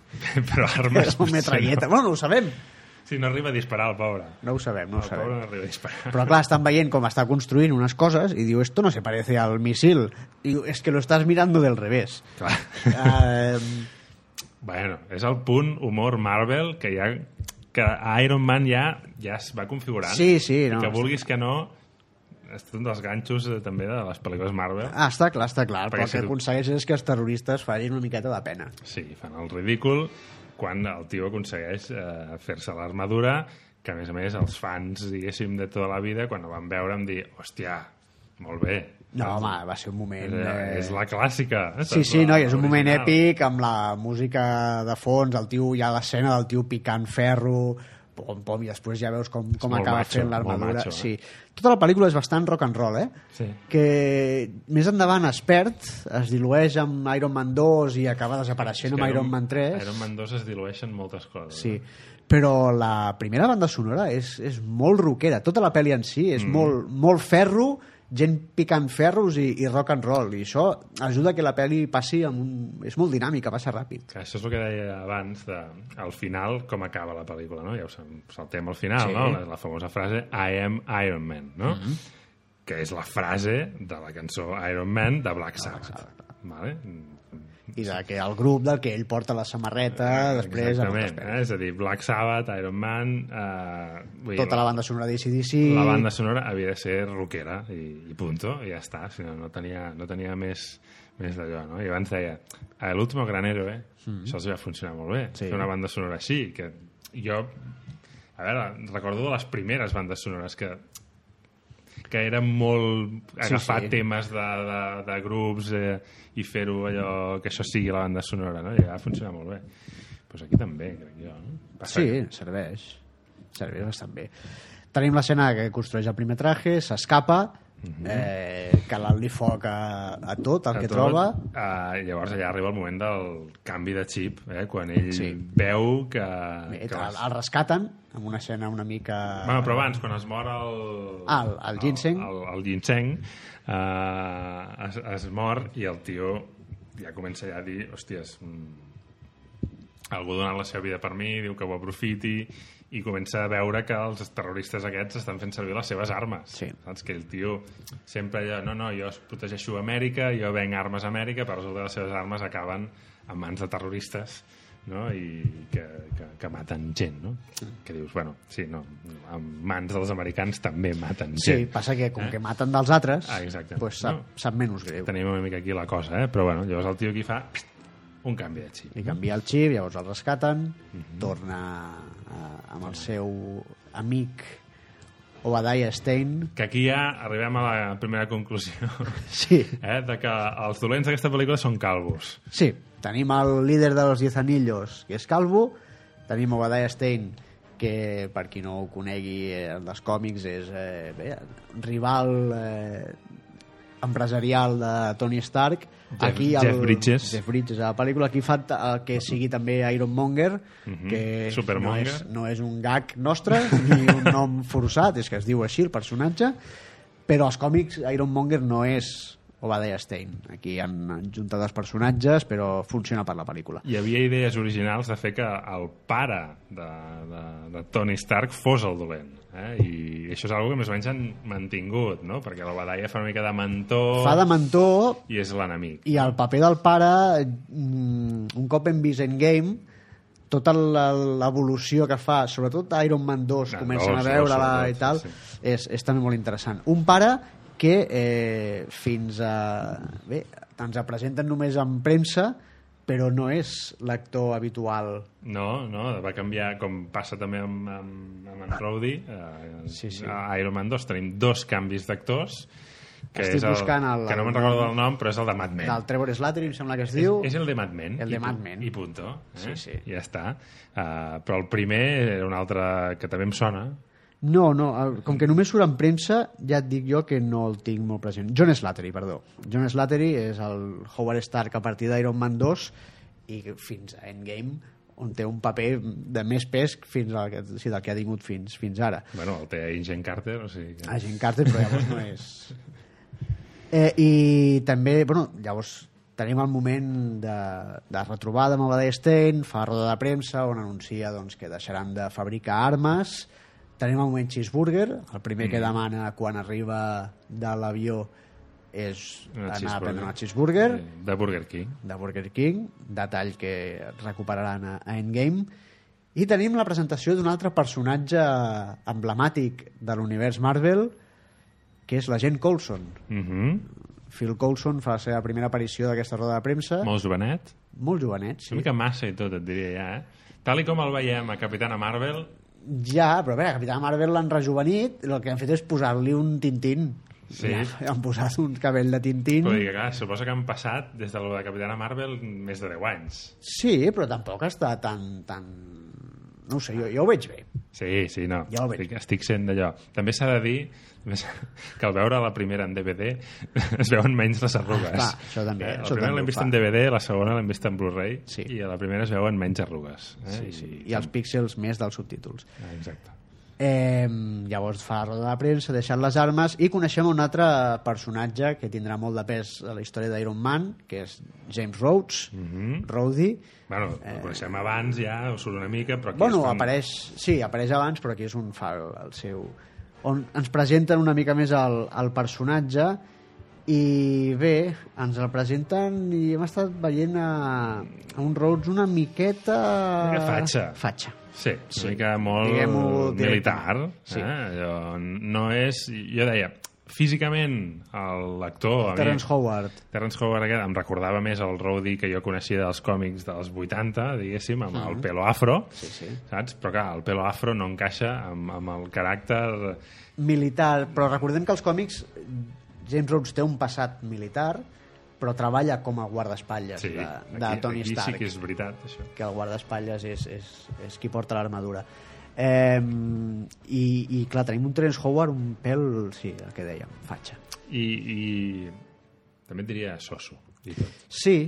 Speaker 2: però armes...
Speaker 1: És un metralleta.
Speaker 2: potser
Speaker 1: Bueno, no ho sabem.
Speaker 2: No. Si no arriba a disparar, el pobre.
Speaker 1: No ho sabem, no ho
Speaker 2: el pobre
Speaker 1: sabem.
Speaker 2: no arriba a disparar.
Speaker 1: Però clar, estan veient com està construint unes coses i diu, esto no se parece al misil. I diu, es que lo estás mirando del revés.
Speaker 2: Clar.
Speaker 1: Eh,
Speaker 2: Bueno, és el punt humor Marvel que ja que a Iron Man ja ja es va configurant.
Speaker 1: Sí, sí,
Speaker 2: I
Speaker 1: no.
Speaker 2: que vulguis que no, és un dels ganxos eh, també de les pel·lícules Marvel.
Speaker 1: ah, està clar, està clar.
Speaker 2: Perquè
Speaker 1: Però el
Speaker 2: si
Speaker 1: que
Speaker 2: tu-
Speaker 1: aconsegueix és que els terroristes facin una miqueta de pena.
Speaker 2: Sí, fan el ridícul quan el tio aconsegueix eh, fer-se l'armadura, que a més a més els fans, diguéssim, de tota la vida, quan la van veure em dir, hòstia, molt bé.
Speaker 1: No, home, va ser un
Speaker 2: És,
Speaker 1: moment...
Speaker 2: eh,
Speaker 1: Eh...
Speaker 2: és la clàssica. eh,
Speaker 1: Sí,
Speaker 2: saps?
Speaker 1: sí,
Speaker 2: La-
Speaker 1: no, i és un moment
Speaker 2: l'original.
Speaker 1: èpic amb la música de fons, el tio, hi ha l'escena del tio picant ferro, pom, pom, i després ja veus com, com
Speaker 2: molt
Speaker 1: acaba
Speaker 2: macho,
Speaker 1: fent
Speaker 2: molt
Speaker 1: l'armadura.
Speaker 2: macho, eh?
Speaker 1: sí. Tota la pel·lícula és bastant rock and roll, eh?
Speaker 2: Sí.
Speaker 1: que més endavant es perd, es dilueix amb Iron Man 2 i acaba
Speaker 2: És
Speaker 1: desapareixent
Speaker 2: que
Speaker 1: amb Iron Man 3.
Speaker 2: Iron Man 2 es dilueixen moltes coses.
Speaker 1: Sí. Però la primera banda sonora és, és molt rockera. Tota la pel·li en si és mm. molt, molt ferro, gent picant ferros i, i rock and roll. I això ajuda que la pel·li passi amb un... És molt dinàmica, passa ràpid.
Speaker 2: Que això és el que deia abans, de, al final, com acaba la pel·lícula, no? Ja ho sab- saltem al final,
Speaker 1: Sí.
Speaker 2: no? La, la famosa frase I am Iron Man, no? Mm -hmm.
Speaker 1: Mm-hmm.
Speaker 2: Que és la frase de la cançó Iron Man de Black Sabbath. vale?
Speaker 1: I de que el grup del que ell porta la samarreta, després...
Speaker 2: Exactament, eh? és a dir, Black Sabbath, Iron Man... Eh, vull dir,
Speaker 1: Tota la banda sonora d'ACDC...
Speaker 2: la banda sonora havia de ser rockera i, i punto, i ja està, si no, no tenia, no tenia més, més d'allò, no? I abans deia, a l'último gran héroe, mm. això els va funcionar molt bé,
Speaker 1: Mm-hmm. Sí.
Speaker 2: sí. fer una banda sonora així, que jo, a veure, recordo de les primeres bandes sonores que que era molt agafar
Speaker 1: sí.
Speaker 2: temes de, de, de grups eh, i fer-ho allò que això sigui la banda sonora, no? I va funcionar molt bé. Doncs pues aquí també, crec jo. No? Passa
Speaker 1: Sí, serveix. Serveix bastant bé. Tenim l'escena que construeix el primer traje, s'escapa,
Speaker 2: Mhm.
Speaker 1: eh, calant-li foc a, a tot el que
Speaker 2: Sobretot,
Speaker 1: troba.
Speaker 2: Eh, llavors allà arriba el moment del canvi de xip, eh? quan ell sí.
Speaker 1: Sí.
Speaker 2: veu que...
Speaker 1: Bé,
Speaker 2: que
Speaker 1: el,
Speaker 2: les-
Speaker 1: el rescaten amb una escena una mica...
Speaker 2: Bueno, però abans, quan es mor el...
Speaker 1: Ah, el- el ginseng.
Speaker 2: El, el, el ginseng eh, es, es mor i el tio ja comença ja a dir, hòsties, mm, algú ha donat la seva vida per mi, diu que ho aprofiti, i comença a veure que els terroristes aquests estan fent servir les seves armes.
Speaker 1: Sí.
Speaker 2: Saps? Que el tio sempre allò, no, no, jo es protegeixo a Amèrica, jo venc armes a Amèrica, però resulta que les seves armes acaben en mans de terroristes no? i que, que, que maten gent, no? Que dius, bueno, sí, no, en mans dels americans també maten
Speaker 1: Sí,
Speaker 2: gent.
Speaker 1: passa que com que maten dels altres,
Speaker 2: Eh. Ah, exacte.
Speaker 1: pues sap,
Speaker 2: No.
Speaker 1: sap menys greu.
Speaker 2: Tenim una mica aquí la cosa, eh? Però bueno, llavors el tio aquí fa un canvi de xip.
Speaker 1: Li canvia el xip, llavors el rescaten,
Speaker 2: Mhm.
Speaker 1: torna eh, amb el seu amic Obadiah Stein.
Speaker 2: Que aquí ja arribem a la primera conclusió,
Speaker 1: Sí,
Speaker 2: eh? De que els dolents d'aquesta pel·lícula són calvos.
Speaker 1: Sí, tenim el líder de los Diez Anillos, que és Calvo, tenim Obadiah Stein, que per qui no ho conegui eh, en els còmics és eh, bé, rival eh, empresarial de Tony Stark.
Speaker 2: Jeff- Jeff Bridges.
Speaker 1: Jeff Bridges, a la pel·lícula. Aquí fa ta- el que sigui també Ironmonger, que no
Speaker 2: Mhm. Supermonger.
Speaker 1: és, no és un gag nostre ni un nom forçat, és que es diu així el personatge, però als còmics Ironmonger no és Obadiah Stein. Aquí han juntat els personatges, però funciona per la pel·lícula.
Speaker 2: Hi havia idees originals de fer que el pare de, de, de Tony Stark fos el dolent. Eh? I això és una que més o menys han mantingut, no? Perquè la Badalla fa una mica de mentor
Speaker 1: Fa de mentor
Speaker 2: i és l'enemic.
Speaker 1: i el paper del pare, mm, un cop hem vist Endgame, tota la- l'evolució que fa, sobretot a Iron Man 2,
Speaker 2: Ah,
Speaker 1: comencen
Speaker 2: dos,
Speaker 1: a
Speaker 2: dos,
Speaker 1: veure-la
Speaker 2: dos,
Speaker 1: i tal,
Speaker 2: sí,
Speaker 1: és, és també molt interessant. Un pare que eh, fins a... Bé, ens la presenten només en premsa, però no és l'actor habitual.
Speaker 2: No, no, va canviar, com passa també amb, amb, amb en Rowdy, eh,
Speaker 1: Sí, sí.
Speaker 2: a Iron Man 2 tenim dos canvis d'actors, que
Speaker 1: Estic
Speaker 2: és el,
Speaker 1: buscant el-
Speaker 2: que no me'n recordo del nom, però és el de Mad Men.
Speaker 1: Del Trevor Slattery, em sembla que es
Speaker 2: És,
Speaker 1: diu.
Speaker 2: és el de Mad Men.
Speaker 1: El de
Speaker 2: i pu-
Speaker 1: Mad Men.
Speaker 2: I punto. Eh?
Speaker 1: Sí, sí.
Speaker 2: Ja està. Uh, però el primer era un altre que també em sona.
Speaker 1: No, no, eh, com que només surt en premsa, ja et dic jo que no el tinc molt present. John Slattery, perdó. John Slattery és el Howard Stark a partir d'Iron Man 2 i fins a Endgame, on té un paper de més pes fins al que, sí, del que ha tingut fins, fins ara.
Speaker 2: Bueno, el té Ingen Carter, o sigui que...
Speaker 1: A Jim Carter, però llavors no és... Eh, I també, bueno, llavors tenim el moment de, de retrobada amb Obadiah Stane, fa roda de premsa on anuncia doncs, que deixaran de fabricar armes, tenim el moment Cheeseburger, el primer que demana quan arriba de l'avió és
Speaker 2: Una
Speaker 1: anar a prendre una
Speaker 2: Eh,
Speaker 1: cheeseburger
Speaker 2: De Burger King.
Speaker 1: de Burger King, detall que recuperaran a, a Endgame. I tenim la presentació d'un altre personatge emblemàtic de l'univers Marvel, que és l'agent Coulson.
Speaker 2: Mhm.
Speaker 1: Phil Coulson fa la seva primera aparició d'aquesta roda de premsa, molt,
Speaker 2: Molt jovenet.
Speaker 1: molt jovenet,
Speaker 2: Una
Speaker 1: sí.
Speaker 2: mica massa i tot, et diria ja, eh? Tal i com el veiem a Capitana Marvel,
Speaker 1: Ja, però a veure, Capità Marvel l'han rejuvenit, i el que han fet és posar-li un tintín.
Speaker 2: Sí.
Speaker 1: Ja, han posat un cabell de tintín.
Speaker 2: però dic, clar, suposa que han passat des de la de Capitana Marvel més de 10 anys.
Speaker 1: Sí, però tampoc està tan... tan... No ho sé, jo, jo ho veig bé.
Speaker 2: Sí, sí, no.
Speaker 1: Ja ho veig.
Speaker 2: estic, estic sent d'allò. També s'ha de dir també s'ha- que al veure la primera en DVD es veuen menys les arrugues.
Speaker 1: Ah, Clar, això també,
Speaker 2: Eh, la
Speaker 1: això
Speaker 2: primera
Speaker 1: també
Speaker 2: l'hem
Speaker 1: ho
Speaker 2: vist
Speaker 1: fa.
Speaker 2: en DVD, la segona l'hem vist en Blu-ray
Speaker 1: Sí.
Speaker 2: i a la primera es veuen menys arrugues. Eh? Sí, sí.
Speaker 1: I els píxels més dels subtítols.
Speaker 2: Exacte.
Speaker 1: Eh, llavors fa la roda de premsa, deixant les armes i coneixem un altre personatge que tindrà molt de pes a la història d'Iron Man, que és James Rhodes, mm
Speaker 2: Mhm.
Speaker 1: -hmm. Rhodey.
Speaker 2: Bueno, el coneixem abans ja, ho surt una mica, però aquí
Speaker 1: Eh. Bueno,
Speaker 2: és quan...
Speaker 1: apareix, sí, apareix abans, però aquí és un fa el, el seu... On ens presenten una mica més el, el personatge i bé, ens el presenten i hem estat veient a, a un Rhodes una miqueta...
Speaker 2: Una mica fatxa.
Speaker 1: Fatxa.
Speaker 2: Sí, una
Speaker 1: Sí.
Speaker 2: mica molt
Speaker 1: Diguem-ho
Speaker 2: militar.
Speaker 1: directament. Sí.
Speaker 2: Eh? Allò no és... Jo deia, físicament, el lector... a mi-
Speaker 1: Terence Howard.
Speaker 2: Terrence Howard aquest em recordava més el Rowdy que jo coneixia dels còmics dels 80, diguéssim, amb el pelo afro, sí,
Speaker 1: sí.
Speaker 2: saps? Però clar, el pelo afro no encaixa amb, amb el caràcter...
Speaker 1: militar, però recordem que els còmics James Rhodes té un passat militar, però treballa com a guardaespatlles
Speaker 2: Sí,
Speaker 1: de, de
Speaker 2: aquí,
Speaker 1: Tony
Speaker 2: aquí
Speaker 1: Stark,
Speaker 2: sí que és veritat, això.
Speaker 1: que el guardaespatlles és, és, és qui porta l'armadura. Eh, i, I clar, tenim un Terence Howard, un pèl, sí, el que dèiem, fatxa.
Speaker 2: I, i també et diria soso. I tot.
Speaker 1: Sí,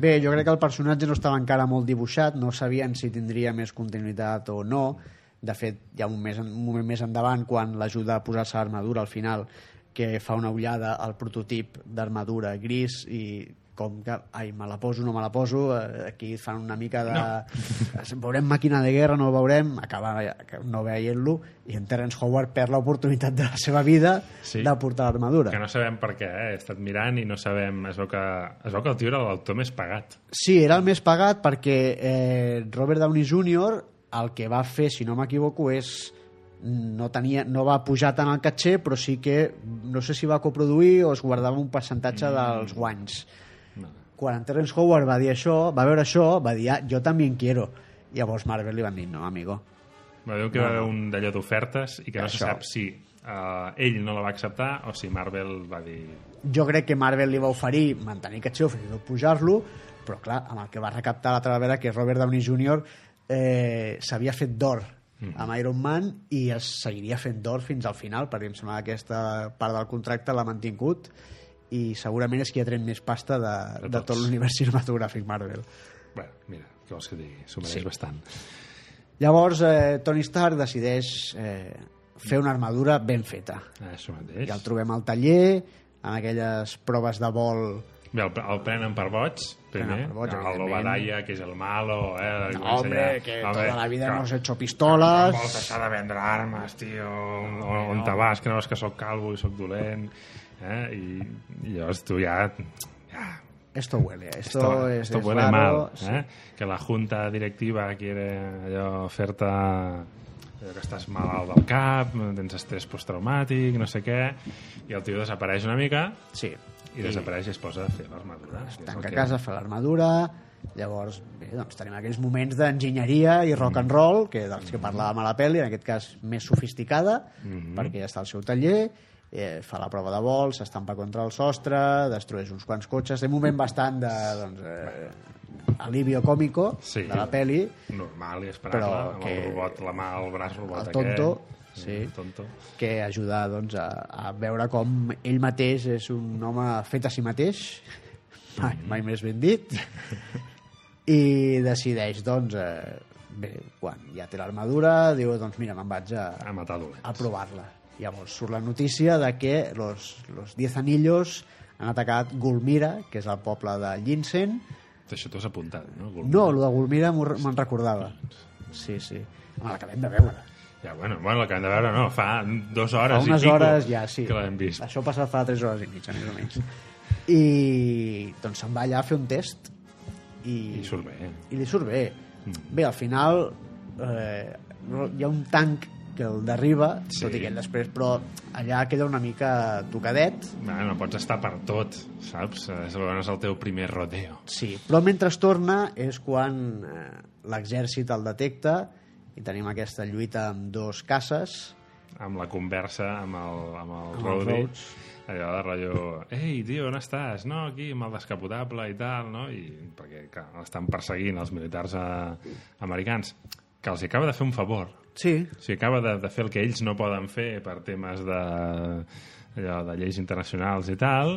Speaker 1: bé, jo crec que el personatge no estava encara molt dibuixat, no sabien si tindria més continuïtat o no. De fet, hi ha un, més, un moment més endavant quan l'ajuda a posar-se l'armadura al final que fa una ullada al prototip d'armadura gris i com que, ai, me la poso, no me la poso, eh, aquí fan una mica de... No. Veurem màquina de guerra, no ho veurem, acaba no veient-lo, i en Terence Howard perd l'oportunitat de la seva vida
Speaker 2: Sí.
Speaker 1: sí. de portar l'armadura.
Speaker 2: Que no sabem per què, eh? he estat mirant i no sabem... Es veu que, es veu que el tio era l'autor més pagat.
Speaker 1: Sí, era el més pagat perquè eh, Robert Downey Jr. el que va fer, si no m'equivoco, és no, tenia, no va pujar tant al catxer, però sí que no sé si va coproduir o es guardava un percentatge dels guanys. Quan en Terence Howard va dir això, va veure això, va dir, ah, jo també en quiero. I llavors Marvel li van dir, no, amigo.
Speaker 2: Va dir que va haver un d'allò d'ofertes i que no se
Speaker 1: Això.
Speaker 2: sap si eh, ell no la va acceptar o si Marvel va dir
Speaker 1: Jo crec que Marvel li va oferir mantenir catxer o fins i tot pujar-lo, però clar, amb el que va recaptar l'altra vegada, que és Robert Downey Jr., eh, s'havia fet d'or
Speaker 2: Mm.
Speaker 1: amb Iron Man i es seguiria fent d'or fins al final, perquè em sembla que aquesta part del contracte l'ha mantingut i segurament és qui ha tret més pasta de,
Speaker 2: De
Speaker 1: de tot
Speaker 2: tots.
Speaker 1: l'univers cinematogràfic Marvel.
Speaker 2: Bueno, mira, què vols que digui? S'ho mereix sí. bastant.
Speaker 1: Llavors, eh, Tony Stark decideix eh, fer una armadura ben feta.
Speaker 2: Això mateix.
Speaker 1: Ja el trobem al taller, en aquelles proves de vol
Speaker 2: Bé, el, el prenen per boig, primer.
Speaker 1: Prenen per boig,
Speaker 2: el
Speaker 1: evidentment.
Speaker 2: Obadiah, que és el malo, eh? el
Speaker 1: No,
Speaker 2: comença
Speaker 1: hombre,
Speaker 2: ja.
Speaker 1: que
Speaker 2: Home,
Speaker 1: toda la vida
Speaker 2: clar,
Speaker 1: hemos hecho
Speaker 2: No vols
Speaker 1: pistolas.
Speaker 2: deixar de vendre armes, tio. On, on, on te vas? Que no veus que sóc calvo i sóc dolent. Eh? I, I llavors tu ja... ja
Speaker 1: Esto huele, esto,
Speaker 2: esto,
Speaker 1: es,
Speaker 2: esto
Speaker 1: es
Speaker 2: huele ¿eh?
Speaker 1: raro.
Speaker 2: mal. Eh? Que la junta directiva quiere allò, fer-te allò que estàs malalt del cap, tens estrès postraumàtic, no sé què, i el tio desapareix una mica
Speaker 1: Sí.
Speaker 2: i desapareix i es posa a fer l'armadura. És el
Speaker 1: Tanca
Speaker 2: que-
Speaker 1: casa, fa l'armadura, llavors bé, doncs tenim aquells moments d'enginyeria i rock and roll, que dels
Speaker 2: Mm-hmm.
Speaker 1: que parlàvem a la pel·li, en aquest cas més sofisticada, perquè ja està al seu taller, eh, fa la prova de vol, s'estampa contra el sostre, destrueix uns quants cotxes, té un moment bastant de... Doncs, eh, alivio còmico
Speaker 2: Sí.
Speaker 1: de la pel·li
Speaker 2: normal i esperable,
Speaker 1: Però
Speaker 2: amb
Speaker 1: que-
Speaker 2: el robot, la mà, el braç robot
Speaker 1: El tonto,
Speaker 2: aquest. mm,
Speaker 1: sí.
Speaker 2: El tonto.
Speaker 1: que ajuda doncs, a, a veure com ell mateix és un home fet a si mateix, mai, mai més ben dit, i decideix, doncs, eh, bé, quan ja té l'armadura, diu, doncs mira, me'n vaig a,
Speaker 2: A matar dolents.
Speaker 1: a provar-la. Llavors surt la notícia de que los, los Diez Anillos han atacat Gulmira, que és el poble de Llinsen.
Speaker 2: Això t'ho has apuntat, no? Gulp?
Speaker 1: No, el de Gulmira m'ho re- me'n recordava. Sí, sí. Home, l'acabem de veure.
Speaker 2: Ja, bueno, bueno, l'acabem de veure, no, fa dues hores
Speaker 1: Fa unes
Speaker 2: i pico
Speaker 1: hores ja, sí.
Speaker 2: que l'hem vist.
Speaker 1: Això passa fa 3 hores i mitja, més o menys. I doncs se'n va allà a fer un test i,
Speaker 2: I surt bé.
Speaker 1: i li surt bé. Mm. Bé, al final eh, hi ha un tanc que el derriba, sí.
Speaker 2: Sí.
Speaker 1: tot i que ell després, però allà queda una mica tocadet,
Speaker 2: Bueno, no pots estar per tot, saps? És, no és el teu primer rodeo.
Speaker 1: Sí, però mentre es torna és quan eh, l'exèrcit el detecta i tenim aquesta lluita amb dos caces.
Speaker 2: Amb la conversa amb el, amb el
Speaker 1: el
Speaker 2: Rowdy.
Speaker 1: Rhodes.
Speaker 2: Allò de rotllo... Ei, tio, on estàs? No, aquí, amb el descapotable i tal, no? I, perquè, clar, estan perseguint els militars eh, americans que els hi acaba de fer un favor,
Speaker 1: Sí.
Speaker 2: O sigui, acaba de, de fer el que ells no poden fer per temes de, allò, de lleis internacionals i tal.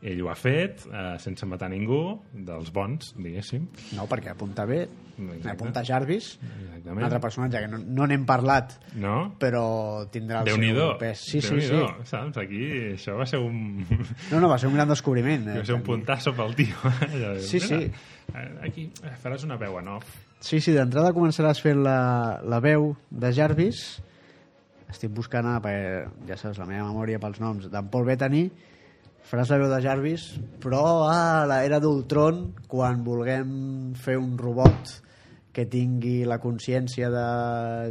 Speaker 2: Ell ho ha fet, eh, sense matar ningú, dels bons, diguéssim.
Speaker 1: No, perquè apunta bé,
Speaker 2: Exacte.
Speaker 1: apunta Jarvis,
Speaker 2: Exactament.
Speaker 1: un altre personatge que no, no n'hem parlat,
Speaker 2: No?
Speaker 1: però tindrà el
Speaker 2: Déu-n'hi-do.
Speaker 1: seu pes. Sí, sí, sí.
Speaker 2: Déu-n'hi-do, saps? Aquí això va ser un...
Speaker 1: No, no, va ser un gran descobriment. eh,
Speaker 2: va ser un
Speaker 1: per mi.
Speaker 2: puntasso pel tio. Allò de,
Speaker 1: Sí,
Speaker 2: "Mira,
Speaker 1: sí.
Speaker 2: eh, Aquí eh, faràs una veu en off.
Speaker 1: Sí, sí, d'entrada començaràs fent la, la veu de Jarvis. Estic buscant, ara, perquè ja saps, la meva memòria pels noms, d'en Paul Bettany. Faràs la veu de Jarvis, però ah, a la era d'Ultron, quan vulguem fer un robot que tingui la consciència de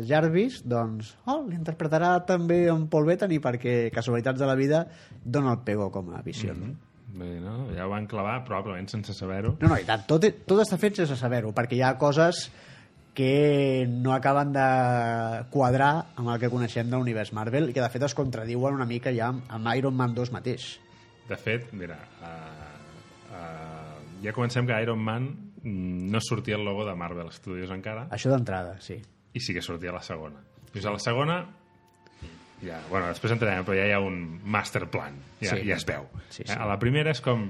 Speaker 1: Jarvis, doncs oh, l'interpretarà també en Paul Bettany perquè casualitats de la vida dona el pego com a visió.
Speaker 2: Mm-hmm.
Speaker 1: Mm -hmm.
Speaker 2: Bé, no? Ja ho van clavar, probablement sense saber-ho.
Speaker 1: No, no, i tant. Tot, tot està fet sense saber-ho, perquè hi ha coses que no acaben de quadrar amb el que coneixem de l'univers Marvel i que, de fet, es contradiuen una mica ja amb, amb Iron Man 2 mateix.
Speaker 2: De fet, mira, uh, uh, ja comencem que Iron Man mm, no sortia el logo de Marvel Studios encara,
Speaker 1: Això d'entrada, sí.
Speaker 2: i sí que sortia a la segona. Fins a la segona, ja, bueno, després entrarem, però ja hi ha un master plan, ja,
Speaker 1: Sí.
Speaker 2: ja es veu.
Speaker 1: Sí,
Speaker 2: Eh,
Speaker 1: sí.
Speaker 2: A la primera és com...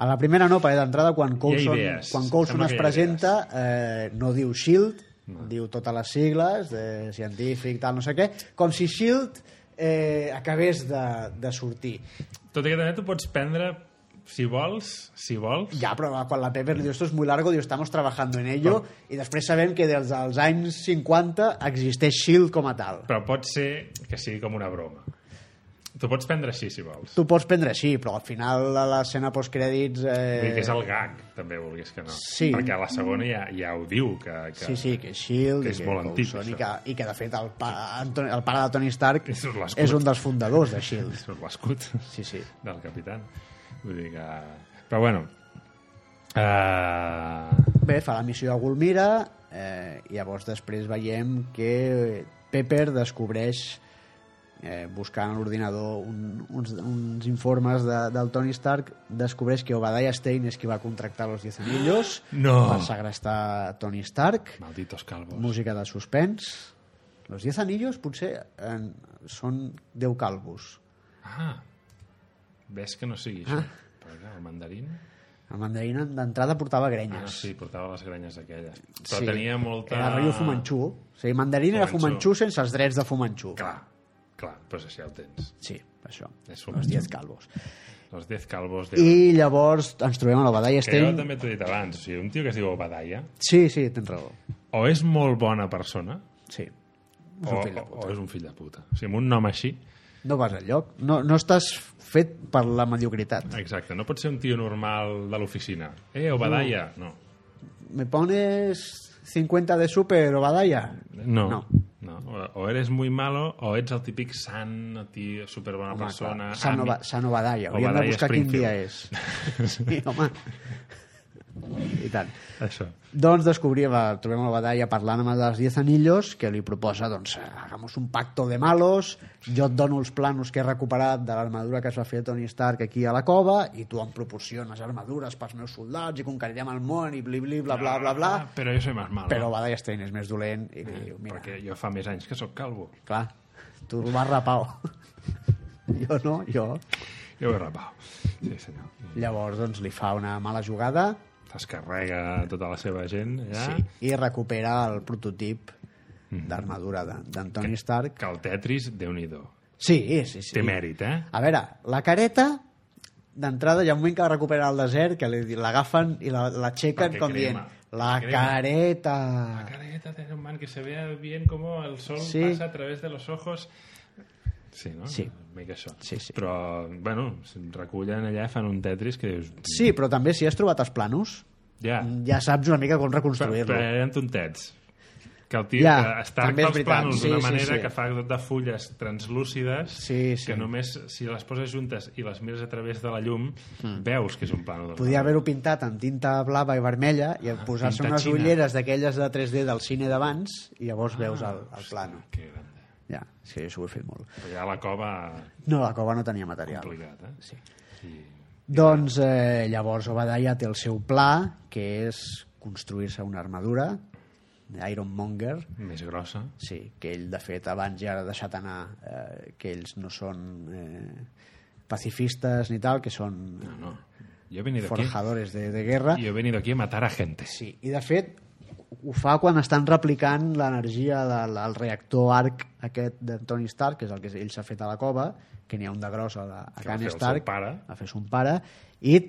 Speaker 1: A la primera no, perquè d'entrada, quan Coulson,
Speaker 2: idees.
Speaker 1: quan Coulson
Speaker 2: Sembla
Speaker 1: es
Speaker 2: que hi ha
Speaker 1: presenta, eh, no diu SHIELD, no. diu totes les sigles, de científic, tal, no sé què, com si SHIELD E eh, acabés de, de sortir.
Speaker 2: Tot i que també tu pots prendre, si vols, si vols...
Speaker 1: Ja, però quan la Pepper li diu esto es muy largo, diu estamos trabajando en ello, i després sabem que des dels anys 50 existeix S.H.I.E.L.D. com a tal.
Speaker 2: Però pot ser que sigui com una broma. Tu pots prendre així, si vols.
Speaker 1: Tu pots prendre així, però al final de l'escena postcrèdits...
Speaker 2: Vull dir que
Speaker 1: Eh,
Speaker 2: és el gag, també, vulguis que no.
Speaker 1: Sí.
Speaker 2: Perquè a la segona ja, ja ho diu, que... que...
Speaker 1: Sí, sí, que és S.H.I.E.L.D.
Speaker 2: que
Speaker 1: i
Speaker 2: és molt antic,
Speaker 1: Coulson,
Speaker 2: això.
Speaker 1: i, que, I que, de fet, el, pa, Anton, el pare de Tony Stark
Speaker 2: És
Speaker 1: és,
Speaker 2: un l'escut.
Speaker 1: un dels fundadors de S.H.I.E.L.D.
Speaker 2: Surt l'escut.
Speaker 1: Sí, sí.
Speaker 2: del capitán. Vull dir que... Però bueno... Uh...
Speaker 1: Bé, fa la missió a Gulmira, eh, i llavors després veiem que Pepper descobreix eh, buscant a l'ordinador un, uns, uns informes de, del Tony Stark, descobreix que Obadiah Stein és qui va contractar los 10 anillos
Speaker 2: No.
Speaker 1: per segrestar Tony Stark.
Speaker 2: Malditos calvos.
Speaker 1: Música de suspens. Los 10 anillos potser en, són 10 calvos.
Speaker 2: Ah! Ves que no sigui això. Ah. Però clar, el mandarín...
Speaker 1: El mandarín d'entrada portava grenyes.
Speaker 2: Ah, sí, portava les grenyes aquelles. Però
Speaker 1: Sí.
Speaker 2: tenia molta...
Speaker 1: Era Rio Fumanchu. O sigui, mandarín era
Speaker 2: Fumanchu.
Speaker 1: Fumanchu sense els drets de Fumanchu.
Speaker 2: Clar, clar, doncs així el tens.
Speaker 1: Sí, això.
Speaker 2: És
Speaker 1: Els
Speaker 2: Fumanchu.
Speaker 1: 10 calvos.
Speaker 2: Els 10 calvos... De...
Speaker 1: I llavors ens trobem a la Badalla
Speaker 2: Que jo
Speaker 1: Stein.
Speaker 2: també t'ho he dit abans. O sigui, un tio que es diu Obadiah,
Speaker 1: Sí, sí, tens raó.
Speaker 2: o és molt bona persona,
Speaker 1: Sí. És
Speaker 2: o,
Speaker 1: un fill de
Speaker 2: o
Speaker 1: puta.
Speaker 2: és un fill de puta. O sigui, amb un nom així...
Speaker 1: No vas al lloc. No, no estàs fet per la mediocritat.
Speaker 2: Exacte, no pot ser un tio normal de l'oficina. Eh, Obadiah! No.
Speaker 1: Me pones 50 de super o Badalla?
Speaker 2: No.
Speaker 1: No.
Speaker 2: no. O eres muy malo o ets el típic sant, a ti, superbona
Speaker 1: Home,
Speaker 2: persona.
Speaker 1: clar, Sanova, Sanovadalla. Hauríem de
Speaker 2: Obadiah
Speaker 1: buscar quin dia
Speaker 2: Springfield.
Speaker 1: és. Sí, home. I tant.
Speaker 2: Això.
Speaker 1: Doncs descobrim, eh, trobem la batalla parlant amb el dels Diez Anillos, que li proposa, doncs, eh, hagamos un pacto de malos, jo et dono els planos que he recuperat de l'armadura que es va fer a Tony Stark aquí a la cova, i tu em proporciones armadures pels meus soldats i conquerirem el món i bli, bli, bla, bla, bla, bla.
Speaker 2: Ah, però jo soy más malo.
Speaker 1: Però Badalla Stein és més dolent i li diu, mira,
Speaker 2: Perquè jo fa més anys que sóc calvo.
Speaker 1: clar, tu el vas rapau. jo no, jo.
Speaker 2: Jo ho he rapau. Sí, senyor.
Speaker 1: Llavors, doncs, li fa una mala jugada
Speaker 2: Es carrega tota la seva gent, ja.
Speaker 1: sí, i recupera el prototip d'armadura de- d'Antoni Stark.
Speaker 2: Mm-hmm. Que el Tetris, déu nhi
Speaker 1: Sí, sí, sí.
Speaker 2: Té mèrit, eh?
Speaker 1: A veure, la careta, d'entrada, hi ha un moment que la recupera al desert, que li- l'agafen i la- l'aixequen
Speaker 2: Perquè
Speaker 1: com
Speaker 2: crema.
Speaker 1: dient, la
Speaker 2: Crema.
Speaker 1: careta.
Speaker 2: Careta de man que se vea bien como el sol
Speaker 1: Sí.
Speaker 2: pasa a través de los ojos. Sí, no?
Speaker 1: Sí.
Speaker 2: Una mica això.
Speaker 1: Sí, sí.
Speaker 2: Però, bueno, si recullen allà, fan un Tetris que dius...
Speaker 1: Sí, Mm, però també si has trobat els planos,
Speaker 2: Ja,
Speaker 1: ja saps una mica com
Speaker 2: però,
Speaker 1: reconstruir-lo.
Speaker 2: però eren tontets. Que el tio
Speaker 1: Ja,
Speaker 2: que està
Speaker 1: també és
Speaker 2: els
Speaker 1: veritat.
Speaker 2: plànols d'una
Speaker 1: Sí, sí,
Speaker 2: manera
Speaker 1: sí.
Speaker 2: que fa tot de fulles translúcides
Speaker 1: Sí, sí.
Speaker 2: que només si les poses juntes i les mires a través de la llum veus que és un plànol.
Speaker 1: Mm. Podia haver-ho pintat amb tinta blava i vermella i posar-se
Speaker 2: Ah, tinta
Speaker 1: unes
Speaker 2: xina. Ah,
Speaker 1: ulleres d'aquelles de 3D del cine d'abans i llavors veus el, el plano.
Speaker 2: Que grande.
Speaker 1: Ja, sí, això ho he fet molt.
Speaker 2: Però ja la cova
Speaker 1: No, la cova no tenia material.
Speaker 2: complicat, eh?
Speaker 1: Sí.
Speaker 2: I...
Speaker 1: Doncs eh, llavors Obadiah té el seu pla, que és construir-se una armadura d'Ironmonger,
Speaker 2: Més grossa.
Speaker 1: sí, que ell de fet abans ja ha deixat anar eh, que ells no són eh, pacifistes ni tal, que són
Speaker 2: No, no. Jo he venido aquí,
Speaker 1: forjadores de, de guerra.
Speaker 2: yo he venido aquí a matar a gente.
Speaker 1: Sí, i de fet ho fa quan estan replicant l'energia del, del reactor arc aquest d'Antony Stark, que és el que ell s'ha fet a la cova, que n'hi ha un de gros a, la, a
Speaker 2: Que va
Speaker 1: Can
Speaker 2: fer el seu
Speaker 1: Stark,
Speaker 2: pare.
Speaker 1: va fer son pare, i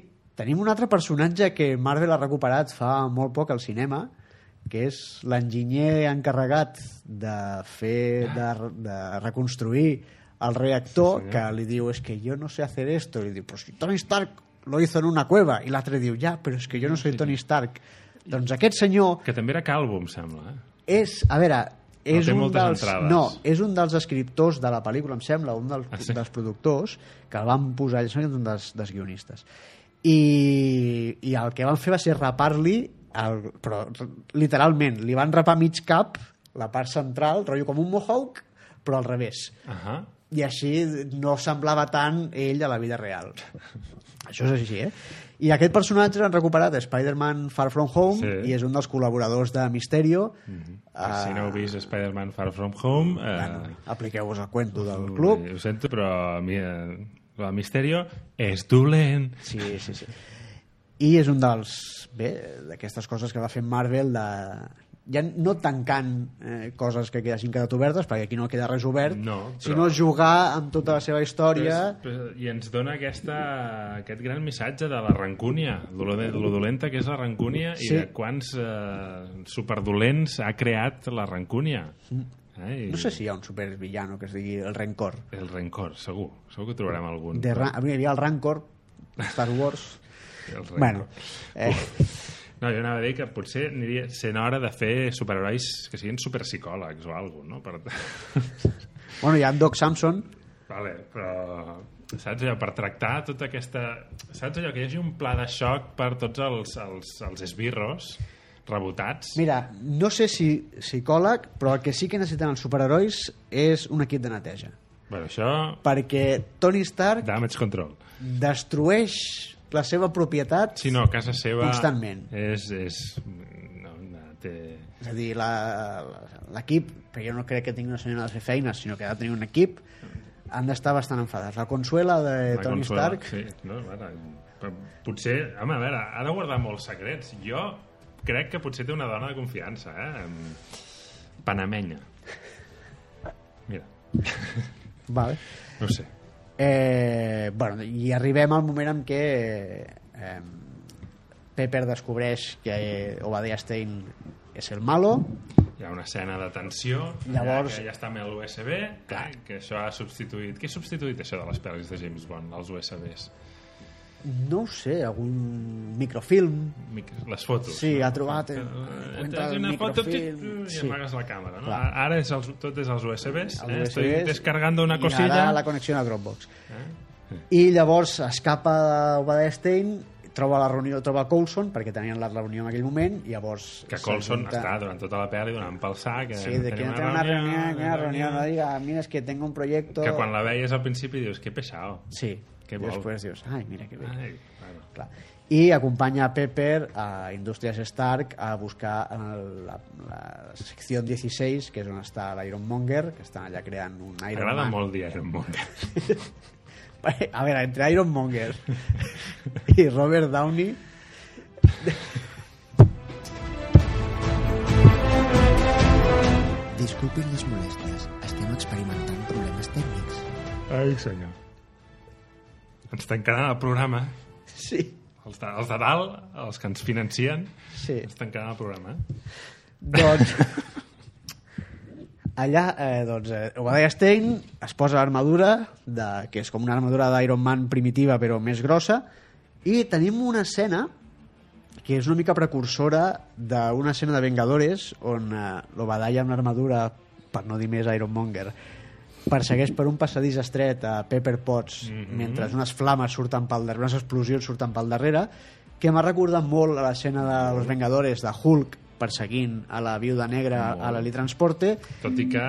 Speaker 1: tenim un altre personatge que Marvel ha recuperat fa molt poc al cinema, que és l'enginyer encarregat de fer, de, de reconstruir el reactor, que li diu, és es que jo no sé hacer esto, i li diu, però si Tony Stark lo hizo en una cueva, i l'altre diu, ja, però és que jo no soy Tony Stark. Doncs aquest senyor
Speaker 2: Que també era calvo, em sembla. Eh?
Speaker 1: és, a veure, és
Speaker 2: té
Speaker 1: un
Speaker 2: moltes
Speaker 1: dels,
Speaker 2: entrades.
Speaker 1: no, és un dels escriptors de la pel·lícula, em sembla, un dels,
Speaker 2: Ah, sí?
Speaker 1: dels productors que el van posar, em sembla que és un dels, dels guionistes. I, I el que van fer va ser rapar-li, el, però r- literalment, li van rapar mig cap, la part central, rotllo com un mohawk, però al revés.
Speaker 2: Ahà.
Speaker 1: I així no semblava tant ell a la vida real. Això és així, eh? I aquest personatge l'han recuperat a Spider-Man Far From Home
Speaker 2: Sí.
Speaker 1: i és un dels col·laboradors de Misterio.
Speaker 2: Ah. Si no heu vist Spider-Man Far From Home... Eh, bueno,
Speaker 1: Apliqueu-vos el cuento del club.
Speaker 2: Ho sento, però mi, eh, el Misterio és dolent.
Speaker 1: Sí, sí, sí. I és un dels... Bé, d'aquestes coses que va fer Marvel de ja no tancant eh, coses que quedassin quedat obertes, perquè aquí no queda res obert,
Speaker 2: No, però-
Speaker 1: sinó jugar amb tota la seva història...
Speaker 2: Però és- però- I ens dona aquesta, aquest gran missatge de la rancúnia, lo, de, lo dolenta que és la rancúnia
Speaker 1: Sí.
Speaker 2: i de quants eh, superdolents ha creat la rancúnia. Eh? I
Speaker 1: Mm. No sé si hi ha un supervillano que es digui el Rencor.
Speaker 2: El rencor, segur. Segur que trobarem algun.
Speaker 1: De ra... A mi hi havia el Rancor, Star Wars...
Speaker 2: El rencor.
Speaker 1: bueno, eh,
Speaker 2: No, jo anava a dir que potser aniria sent hora de fer superherois que siguin superpsicòlegs o alguna cosa, no? Per...
Speaker 1: bueno, hi ha en Doc Samson,
Speaker 2: vale, però... Saps allò, per tractar tota aquesta... Saps allò, que hi hagi un pla de xoc per tots els, els, els esbirros rebotats?
Speaker 1: Mira, no sé si psicòleg, però el que sí que necessiten els superherois és un equip de neteja.
Speaker 2: Bueno, això...
Speaker 1: Perquè Tony Stark
Speaker 2: Damage control.
Speaker 1: destrueix la seva propietat,
Speaker 2: Si no, casa seva...
Speaker 1: Constantment.
Speaker 2: És... és... No, no, té...
Speaker 1: és a dir, la- la- l'equip, però jo no crec que tingui una senyora de fer feines, sinó que ha de tenir un equip, han d'estar bastant enfadats. La consuela de
Speaker 2: La
Speaker 1: Tony
Speaker 2: consola,
Speaker 1: Stark...
Speaker 2: Sí, no, ara, però potser, home, a veure, ha de guardar molts secrets. Jo crec que potser té una dona de confiança, eh? em- Panamenya. Mira,
Speaker 1: Vale.
Speaker 2: no ho sé.
Speaker 1: Eh, bueno, I arribem al moment en què eh, Pepper descobreix que eh, Obadiah Stein és el malo,
Speaker 2: Hi ha una escena de tensió,
Speaker 1: Llavors-
Speaker 2: ja, ja està amb l'USB, eh, que això ha substituït... Què ha substituït això de les pel·lis de James Bond, els USBs?
Speaker 1: no ho sé, algun microfilm.
Speaker 2: Mic- Les fotos.
Speaker 1: Sí, ha trobat, eh,
Speaker 2: Eh,
Speaker 1: entra
Speaker 2: tens
Speaker 1: el
Speaker 2: una foto
Speaker 1: microfilm,
Speaker 2: tic, i
Speaker 1: sí.
Speaker 2: amagues la càmera. No?
Speaker 1: Clar.
Speaker 2: Ara és els, tot és els USBs.
Speaker 1: Al
Speaker 2: eh?
Speaker 1: USB,
Speaker 2: Estoy descargando una
Speaker 1: I ara
Speaker 2: cosilla. Eh?
Speaker 1: la connexió a Dropbox. I llavors escapa Obadestein, troba la reunió, troba Coulson, perquè tenien la reunió en aquell moment, i llavors...
Speaker 2: Que Colson
Speaker 1: s'ajunta-
Speaker 2: està durant tota la pel·li donant pel sac. eh,
Speaker 1: Sí, de que
Speaker 2: tenim
Speaker 1: no tengo una reunión, una reunión, no diga, "Ah, mira, es que tengo un proyecto...
Speaker 2: Que quan la veies al principi dius, que pesado.
Speaker 1: Sí,
Speaker 2: Que
Speaker 1: que
Speaker 2: vol. Ah,
Speaker 1: després dius, ai, mira que bé.
Speaker 2: Ai, bueno.
Speaker 1: Clar. I acompanya a Pepper a Indústries Stark a buscar en el- la, la secció 16, que és on està l'Ironmonger, que estan allà creant un Iron
Speaker 2: M'agrada
Speaker 1: Man.
Speaker 2: molt dir Iron Man.
Speaker 1: A veure, entre Ironmonger i Robert Downey...
Speaker 5: Disculpin les molèsties, estem experimentant problemes tècnics.
Speaker 2: Ai, senyor. Ens tancaran el programa.
Speaker 1: Sí,
Speaker 2: Els de, els de dalt, els que ens financien,
Speaker 1: sí.
Speaker 2: ens tancaran el programa. eh?
Speaker 1: Doncs... Allà, eh, doncs, eh, Obadiah Stein es posa l'armadura, de- que és com una armadura d'Iron Man primitiva però més grossa, i tenim una escena que és una mica precursora d'una escena de Vengadores on eh, l'Obadiah amb l'armadura, per no dir més Ironmonger, persegueix per un passadís estret a Pepper Potts mentre unes flames surten pel darrere, unes explosions surten pel darrere, que m'ha recordat molt a l'escena de Los Vengadores, de Hulk perseguint a la viuda negra a l'Ali Transporte,
Speaker 2: Tot i que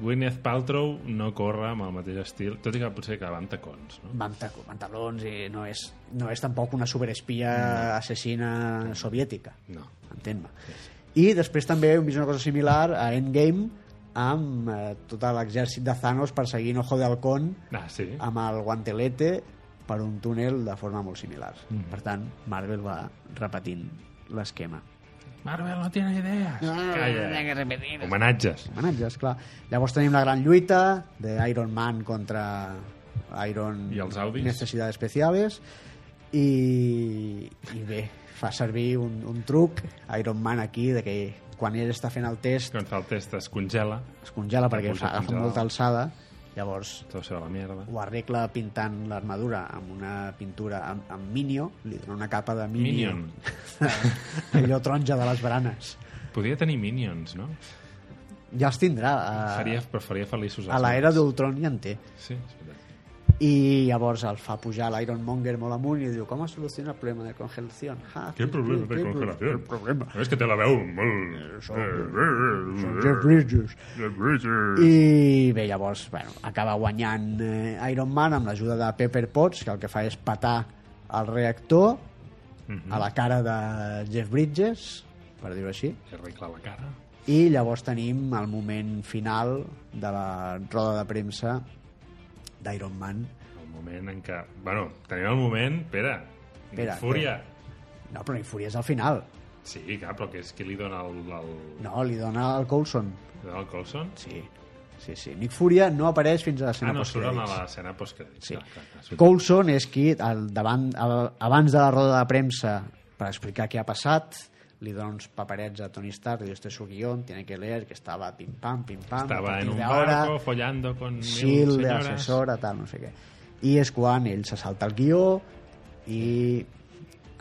Speaker 2: Gwyneth Paltrow no corre amb el mateix estil, tot i que potser que va amb tacons, no?
Speaker 1: van ta- pantalons i no és, no és tampoc una superespia assassina soviètica.
Speaker 2: No.
Speaker 1: entén-me. I després també hem vist una cosa similar a Endgame amb eh, tot l'exèrcit de Thanos perseguint Ojo de Halcón
Speaker 2: Ah, sí?
Speaker 1: amb el guantelete per un túnel de forma molt similar.
Speaker 2: Mm.
Speaker 1: Per tant, Marvel va repetint l'esquema.
Speaker 2: Marvel no tiene idees. Calla. Homenatges.
Speaker 1: Homenatges, clar. Llavors tenim la gran lluita de Iron Man contra Iron
Speaker 2: I els Audis.
Speaker 1: Necessitats Especials i, i bé, fa servir un, un truc Iron Man aquí de que quan ell està fent el test
Speaker 2: Quan fa el test es congela,
Speaker 1: es congela perquè
Speaker 2: Impulsa
Speaker 1: fa, agafa
Speaker 2: congelar.
Speaker 1: molta alçada llavors
Speaker 2: tot se va a la merda.
Speaker 1: ho arregla pintant l'armadura amb una pintura amb, amb Minio, li dona una capa de Minio
Speaker 2: Minion.
Speaker 1: allò taronja de les baranes
Speaker 2: Podria tenir minions, no?
Speaker 1: ja els tindrà eh, a,
Speaker 2: Faria, però faria feliços.
Speaker 1: a l'era d'Ultron ja en té
Speaker 2: Sí, és veritat.
Speaker 1: i llavors el fa pujar l'Ironmonger molt amunt i diu, com has solucionat el problema de congelació? Ja,
Speaker 2: Què problema té congelació?
Speaker 1: El problema.
Speaker 2: És que té la veu molt... Eh,
Speaker 1: Són Jeff Bridges.
Speaker 2: I...
Speaker 1: I bé, llavors, bueno, acaba guanyant eh, Iron Man amb l'ajuda de Pepper Potts, que el que fa és patar el reactor
Speaker 2: Mhm.
Speaker 1: a la cara de Jeff Bridges, per dir-ho així,
Speaker 2: Arregla la cara.
Speaker 1: i llavors tenim el moment final de la roda de premsa d'Iron Man.
Speaker 2: El moment en què... Bueno, tenim el moment... Espera.
Speaker 1: Espera,
Speaker 2: Fúria.
Speaker 1: No, però ni fúria és al final.
Speaker 2: Sí, clar, però que és qui li dona el... el...
Speaker 1: No, li dona el Coulson.
Speaker 2: li dona el Colson?
Speaker 1: Sí, sí, sí. Nick Furia no apareix fins a l'escena
Speaker 2: Ah, no, surt a
Speaker 1: postcrèdits.
Speaker 2: l'escena postcrèdits.
Speaker 1: Sí.
Speaker 2: Clar, clar, clar, surt.
Speaker 1: Coulson és qui, al davant, al, abans de la roda de premsa, per explicar què ha passat, li dona uns paperets a Tony Stark, li diu, este es su guión, tiene que leer, que estaba pim pam, pim pam, a
Speaker 2: Estava
Speaker 1: partir
Speaker 2: en un
Speaker 1: de
Speaker 2: barco follando con mil
Speaker 1: Shield,
Speaker 2: señoras.
Speaker 1: assessora, tal, no sé què. I és quan ell se salta el guió i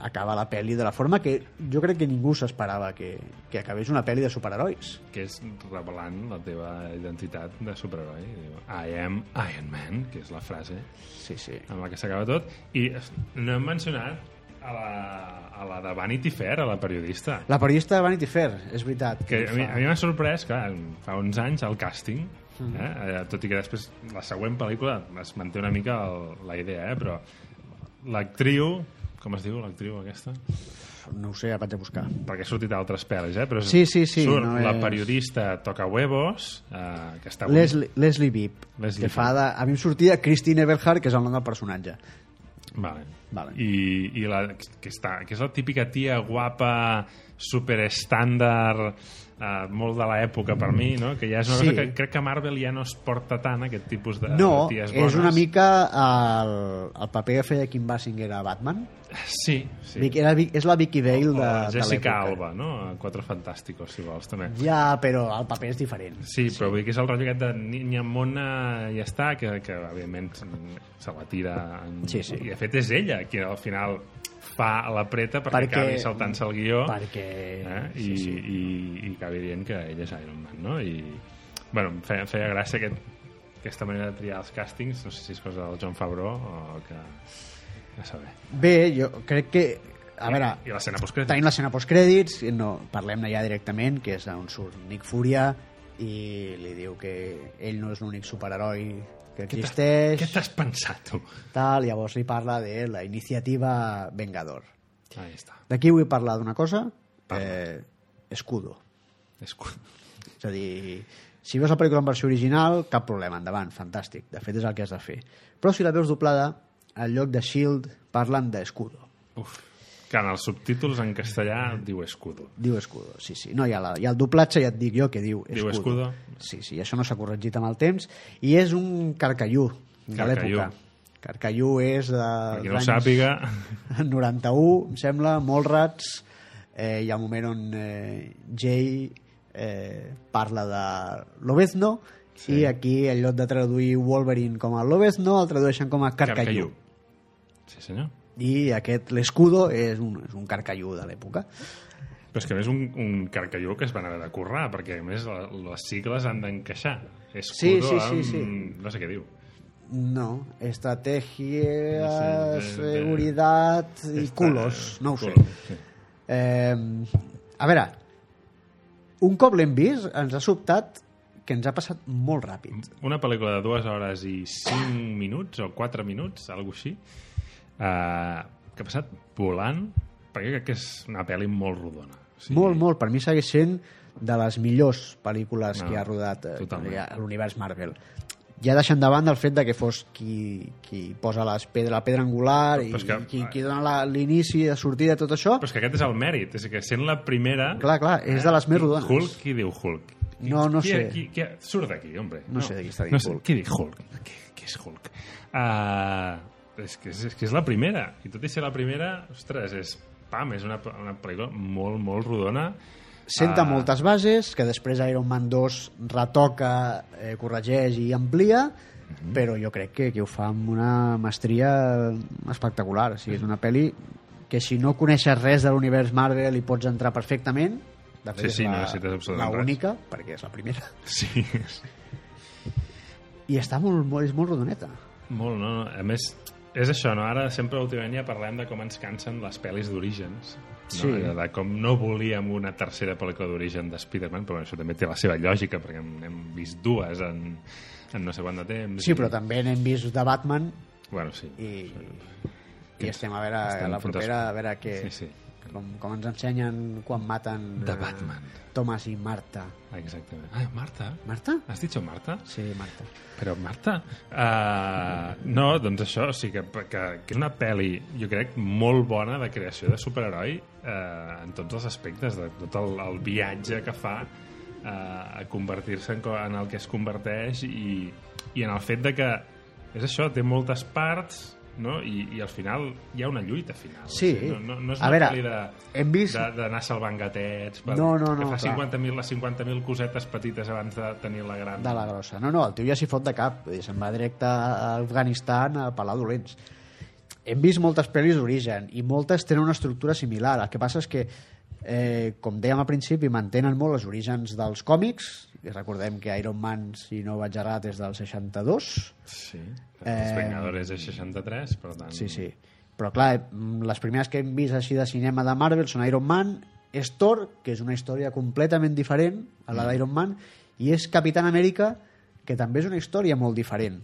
Speaker 1: acaba la pel·li de la forma que jo crec que ningú s'esperava que, que acabés una pel·li de superherois.
Speaker 2: que és revelant la teva identitat de superheroi. Diu, I am Iron Man, que és la frase
Speaker 1: Sí, sí.
Speaker 2: amb la que s'acaba tot. I es- no hem mencionat a la, a la de Vanity Fair, a la periodista.
Speaker 1: La periodista de Vanity Fair, és veritat.
Speaker 2: Que a mi
Speaker 1: fa-
Speaker 2: a mi m'ha sorprès, clar, fa uns anys el càsting,
Speaker 1: Mm.
Speaker 2: eh? Eh, tot i que després la següent pel·lícula es manté una mica el, la idea, eh? però l'actriu, com es diu l'actriu aquesta?
Speaker 1: No ho sé, ja vaig a buscar.
Speaker 2: perquè ha sortit a altres pel·lis, eh? Però és-
Speaker 1: Sí, sí, sí,
Speaker 2: Surt
Speaker 1: no
Speaker 2: la
Speaker 1: és-
Speaker 2: periodista Toca Huevos, eh, que està...
Speaker 1: Leslie, Leslie Bibb,
Speaker 2: Leslie
Speaker 1: que fa de... A mi em sortia Christine Everhart, que és el nom del personatge.
Speaker 2: Eh, Vale.
Speaker 1: Vale.
Speaker 2: I, i la, que, està, que és la típica tia guapa, superestàndard, eh, molt de l'època per mi, no? Que ja és una
Speaker 1: Sí.
Speaker 2: cosa que crec que Marvel ja no es porta tant, aquest tipus de,
Speaker 1: No,
Speaker 2: de ties bones.
Speaker 1: és una mica el, el paper que feia Kim Basinger a Batman.
Speaker 2: Sí, sí.
Speaker 1: Vic- Era, Vic- és la Vicky Bale
Speaker 2: O
Speaker 1: de,
Speaker 2: la
Speaker 1: de
Speaker 2: Jessica
Speaker 1: l'època.
Speaker 2: Alba, no? A Quatre Fantàsticos, si vols, també.
Speaker 1: Ja, però el paper és diferent.
Speaker 2: Sí, però vull dir que és el rotllo aquest de niña mona i ja està, que, que evidentment se la tira en...
Speaker 1: Sí, sí.
Speaker 2: i de fet és ella eh, qui al final fa la preta perquè,
Speaker 1: Perquè-
Speaker 2: acabi saltant-se el guió
Speaker 1: perquè...
Speaker 2: eh? I, i, i acabi dient que ell és Iron Man, no? I, bueno, em feia, feia gràcia aquest, aquesta manera de triar els càstings, no sé si és cosa del John Favreau o que... a saber.
Speaker 1: Bé, jo crec que... A veure,
Speaker 2: I l'escena postcrèdits.
Speaker 1: tenim l'escena postcrèdits, i no, parlem-ne ja directament, que és on surt Nick Furia i li diu que ell no és l'únic superheroi que existeix,
Speaker 2: Què t'has pensat, tu?
Speaker 1: tal, llavors li parla de la iniciativa Vengador.
Speaker 2: Ahí està.
Speaker 1: D'aquí vull parlar d'una cosa, eh, escudo.
Speaker 2: És... cu-
Speaker 1: És a dir, si veus la pel·lícula en versió original, cap problema, endavant, fantàstic. De fet, és el que has de fer. Però si la veus doblada, al lloc de Shield E parlen d'escudo.
Speaker 2: Uf. Que en els subtítols en castellà diu escudo.
Speaker 1: Diu escudo, sí, sí. No, hi ha, la, hi ha el doblatge, ja et dic jo, que diu escudo.
Speaker 2: Diu escudo.
Speaker 1: Sí, sí, això no s'ha corregit amb el temps. I és un carcallú de
Speaker 2: Carcallú.
Speaker 1: l'època. Carcallú és de...
Speaker 2: Per qui no ho
Speaker 1: dels anys-
Speaker 2: sàpiga,
Speaker 1: 91, em sembla, Molrats, eh, hi ha un moment on eh, Jay eh, parla de Lobezno sí. i aquí en lloc de traduir Wolverine com a Lobezno el tradueixen com a Carcallú.
Speaker 2: Carcallú. Sí, senyor.
Speaker 1: I aquest, l'escudo, és un, és un carcallú de l'època.
Speaker 2: Però és que a més un, un carcalló que es van haver de currar, perquè a més la- les sigles han d'encaixar. Escudo
Speaker 1: Sí, sí, sí,
Speaker 2: amb...
Speaker 1: sí.
Speaker 2: No sé què diu.
Speaker 1: No, estratègia,
Speaker 2: No sé, de- de-
Speaker 1: seguretat i
Speaker 2: Esta-
Speaker 1: culos, no ho sé.
Speaker 2: culos, Sí.
Speaker 1: Eh, a veure, un cop l'hem vist, ens ha sobtat que ens ha passat molt ràpid.
Speaker 2: Una pel·lícula de dues hores i cinc minuts, o quatre minuts, alguna així, eh, que ha passat volant, perquè crec que és una pel·li molt rodona. O
Speaker 1: Sí. Molt, molt. Per mi segueix sent de les millors pel·lícules
Speaker 2: No,
Speaker 1: que ha rodat eh,
Speaker 2: Ah, totalment.
Speaker 1: a l'univers Marvel. Ja deixant de banda el fet de que fos qui, qui posa les pedra, la pedra angular i
Speaker 2: Però és que-
Speaker 1: qui, qui dona la- l'inici de sortida de tot això.
Speaker 2: Però és que aquest és el mèrit, és que sent la primera...
Speaker 1: Clar, clar, és de les més rodones.
Speaker 2: Hulk, qui diu Hulk? Qui-
Speaker 1: No, no
Speaker 2: qui,
Speaker 1: sé.
Speaker 2: Qui, qui, surt d'aquí, hombre.
Speaker 1: No sé de qui està dient
Speaker 2: sé,
Speaker 1: Hulk.
Speaker 2: Qui diu Hulk? Qui, qui és Hulk? Uh, és, que, és, és que és la primera. I tot i ser la primera, ostres, és... Pam, és una, una pel·lícula molt, molt rodona.
Speaker 1: Senta
Speaker 2: Ah.
Speaker 1: moltes bases, que després Iron Man 2 retoca, eh, corregeix i amplia,
Speaker 2: Mhm.
Speaker 1: però jo crec que, que ho fa amb una mestria espectacular. O sigui, és una pel·li que si no coneixes res de l'univers Marvel hi pots entrar perfectament. De fet,
Speaker 2: Sí, sí,
Speaker 1: és
Speaker 2: no necessites absolutament
Speaker 1: la
Speaker 2: res.
Speaker 1: única, perquè és la primera.
Speaker 2: Sí, és
Speaker 1: I està molt, molt, és molt rodoneta.
Speaker 2: Molt, no? no. A més, és això, no? Ara sempre últimament ja parlem de com ens cansen les pel·lis d'orígens. No?
Speaker 1: Sí.
Speaker 2: Allò De com no volíem una tercera pel·lícula d'origen de Spider-Man, però això també té la seva lògica, perquè en- hem vist dues en, en no sé quant de temps.
Speaker 1: Sí,
Speaker 2: i-
Speaker 1: però també n'hem vist de Batman
Speaker 2: Bueno, sí.
Speaker 1: i, i estem a veure
Speaker 2: Estan
Speaker 1: la propera, a veure què,
Speaker 2: Sí, sí.
Speaker 1: Com, com ens ensenyen quan maten
Speaker 2: De
Speaker 1: eh,
Speaker 2: Batman.
Speaker 1: Thomas i Marta.
Speaker 2: Ah, exactament. Ah, Marta.
Speaker 1: Marta?
Speaker 2: Has dit Marta?
Speaker 1: Sí, Marta.
Speaker 2: Però, Marta, uh, no, doncs això, o sigui que, que, que és una pel·li, jo crec, molt bona de creació de superheroi uh, en tots els aspectes, de tot el, el viatge que fa uh, a convertir-se en, co- en el que es converteix i, i en el fet de que és això, té moltes parts no? I, i al final hi ha una lluita final
Speaker 1: Sí.
Speaker 2: o sigui, no, no, no és
Speaker 1: A
Speaker 2: una
Speaker 1: veure,
Speaker 2: pel·li de,
Speaker 1: hem vist-
Speaker 2: de- d'anar salvant gatets per,
Speaker 1: No, no, no,
Speaker 2: que fa
Speaker 1: clar.
Speaker 2: 50.000 les 50.000 cosetes petites abans de tenir la gran
Speaker 1: De la grossa. No, no, el tio ja s'hi fot de cap. Vull dir, Se'n va directe a Afganistan a pelar dolents. Hem vist moltes pel·lis d'origen i moltes tenen una estructura similar. El que passa és que, eh, com dèiem al principi, mantenen molt els orígens dels còmics. I recordem que Iron Man, si no vaig errat, és del 62.
Speaker 2: Sí, els
Speaker 1: Eh,
Speaker 2: Vengadores és 63, per tant...
Speaker 1: Sí, sí. Però clar, eh, mm, les primeres que hem vist així de cinema de Marvel són Iron Man, és Thor, que és una història completament diferent a la d'Iron Man, i és Capitán Amèrica, que també és una història molt diferent.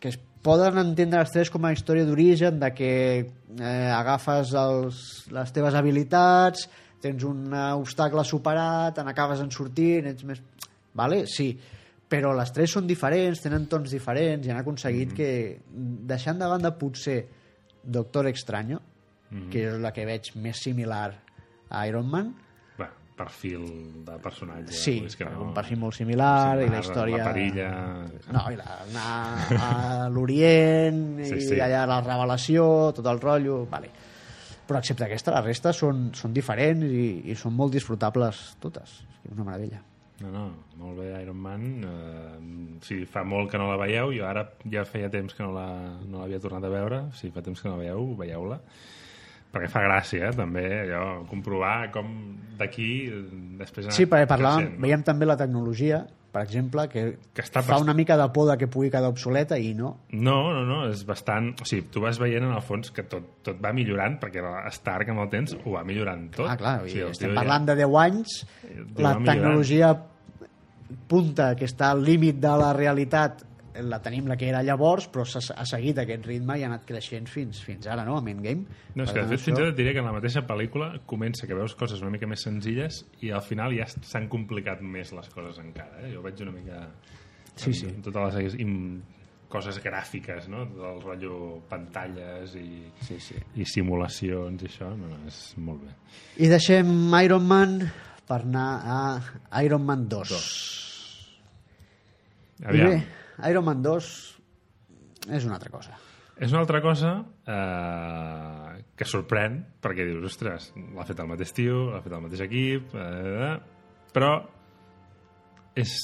Speaker 1: Que es poden entendre les tres com a història d'origen, de que eh, agafes els, les teves habilitats, tens un eh, obstacle superat, te n'acabes en sortint, ets més... Vale? Sí, però les tres són diferents, tenen tons diferents i han aconseguit mm -hmm. que, deixant de banda potser Doctor Extraño, mm -hmm. que és la que veig més similar a Iron Man,
Speaker 2: Bé, perfil de personatge.
Speaker 1: sí,
Speaker 2: és que no,
Speaker 1: un perfil molt similar, i la història...
Speaker 2: La perilla...
Speaker 1: No, i la, anar a l'Orient,
Speaker 2: Sí,
Speaker 1: sí, sí.
Speaker 2: sí.
Speaker 1: i allà la revelació, tot el rotllo... Vale. Però excepte aquesta, la resta són, són diferents i, i són molt disfrutables totes. És una meravella.
Speaker 2: No, no, molt bé, Iron Man. Eh, sí, fa molt que no la veieu. Jo ara ja feia temps que no la- no l'havia no tornat a veure. Si fa temps que no la veieu, veieu-la. Perquè fa gràcia, eh, també, allò, comprovar com d'aquí... eh, després ha
Speaker 1: Sí, perquè
Speaker 2: anat
Speaker 1: parlàvem,
Speaker 2: creixent, no?
Speaker 1: veiem també la tecnologia, per exemple, que,
Speaker 2: Que està
Speaker 1: fa
Speaker 2: bast-
Speaker 1: una mica de por de que pugui quedar obsoleta i no.
Speaker 2: No, no, no, és bastant... O sigui, tu vas veient en el fons que tot, tot va millorant, perquè la Stark amb el temps ho va millorant tot.
Speaker 1: Ah, clar,
Speaker 2: o
Speaker 1: o
Speaker 2: sigui, el
Speaker 1: estem
Speaker 2: tio
Speaker 1: parlant de 10 anys,
Speaker 2: tio
Speaker 1: la
Speaker 2: va millorant.
Speaker 1: tecnologia punta que està al límit de la realitat la tenim la que era llavors, però s'ha ha seguit aquest ritme i ha anat creixent fins fins ara, no?, amb Endgame.
Speaker 2: No, és
Speaker 1: Per
Speaker 2: que de
Speaker 1: tant,
Speaker 2: fet
Speaker 1: això-
Speaker 2: fins ara et diré que en la mateixa pel·lícula comença que veus coses una mica més senzilles i al final ja s'han complicat més les coses encara, eh? Jo veig una mica...
Speaker 1: Sí, sí.
Speaker 2: Amb totes les im- coses gràfiques, no? Tot el rotllo pantalles i,
Speaker 1: Sí, sí.
Speaker 2: i simulacions i això, no, no, és molt bé.
Speaker 1: I deixem Iron Man per anar a Iron Man 2. I bé,
Speaker 2: Aviam,
Speaker 1: Iron Man 2 és una altra cosa.
Speaker 2: és una altra cosa eh, que sorprèn, perquè dius, ostres, l'ha fet el mateix tio, l'ha fet el mateix equip, eh, però és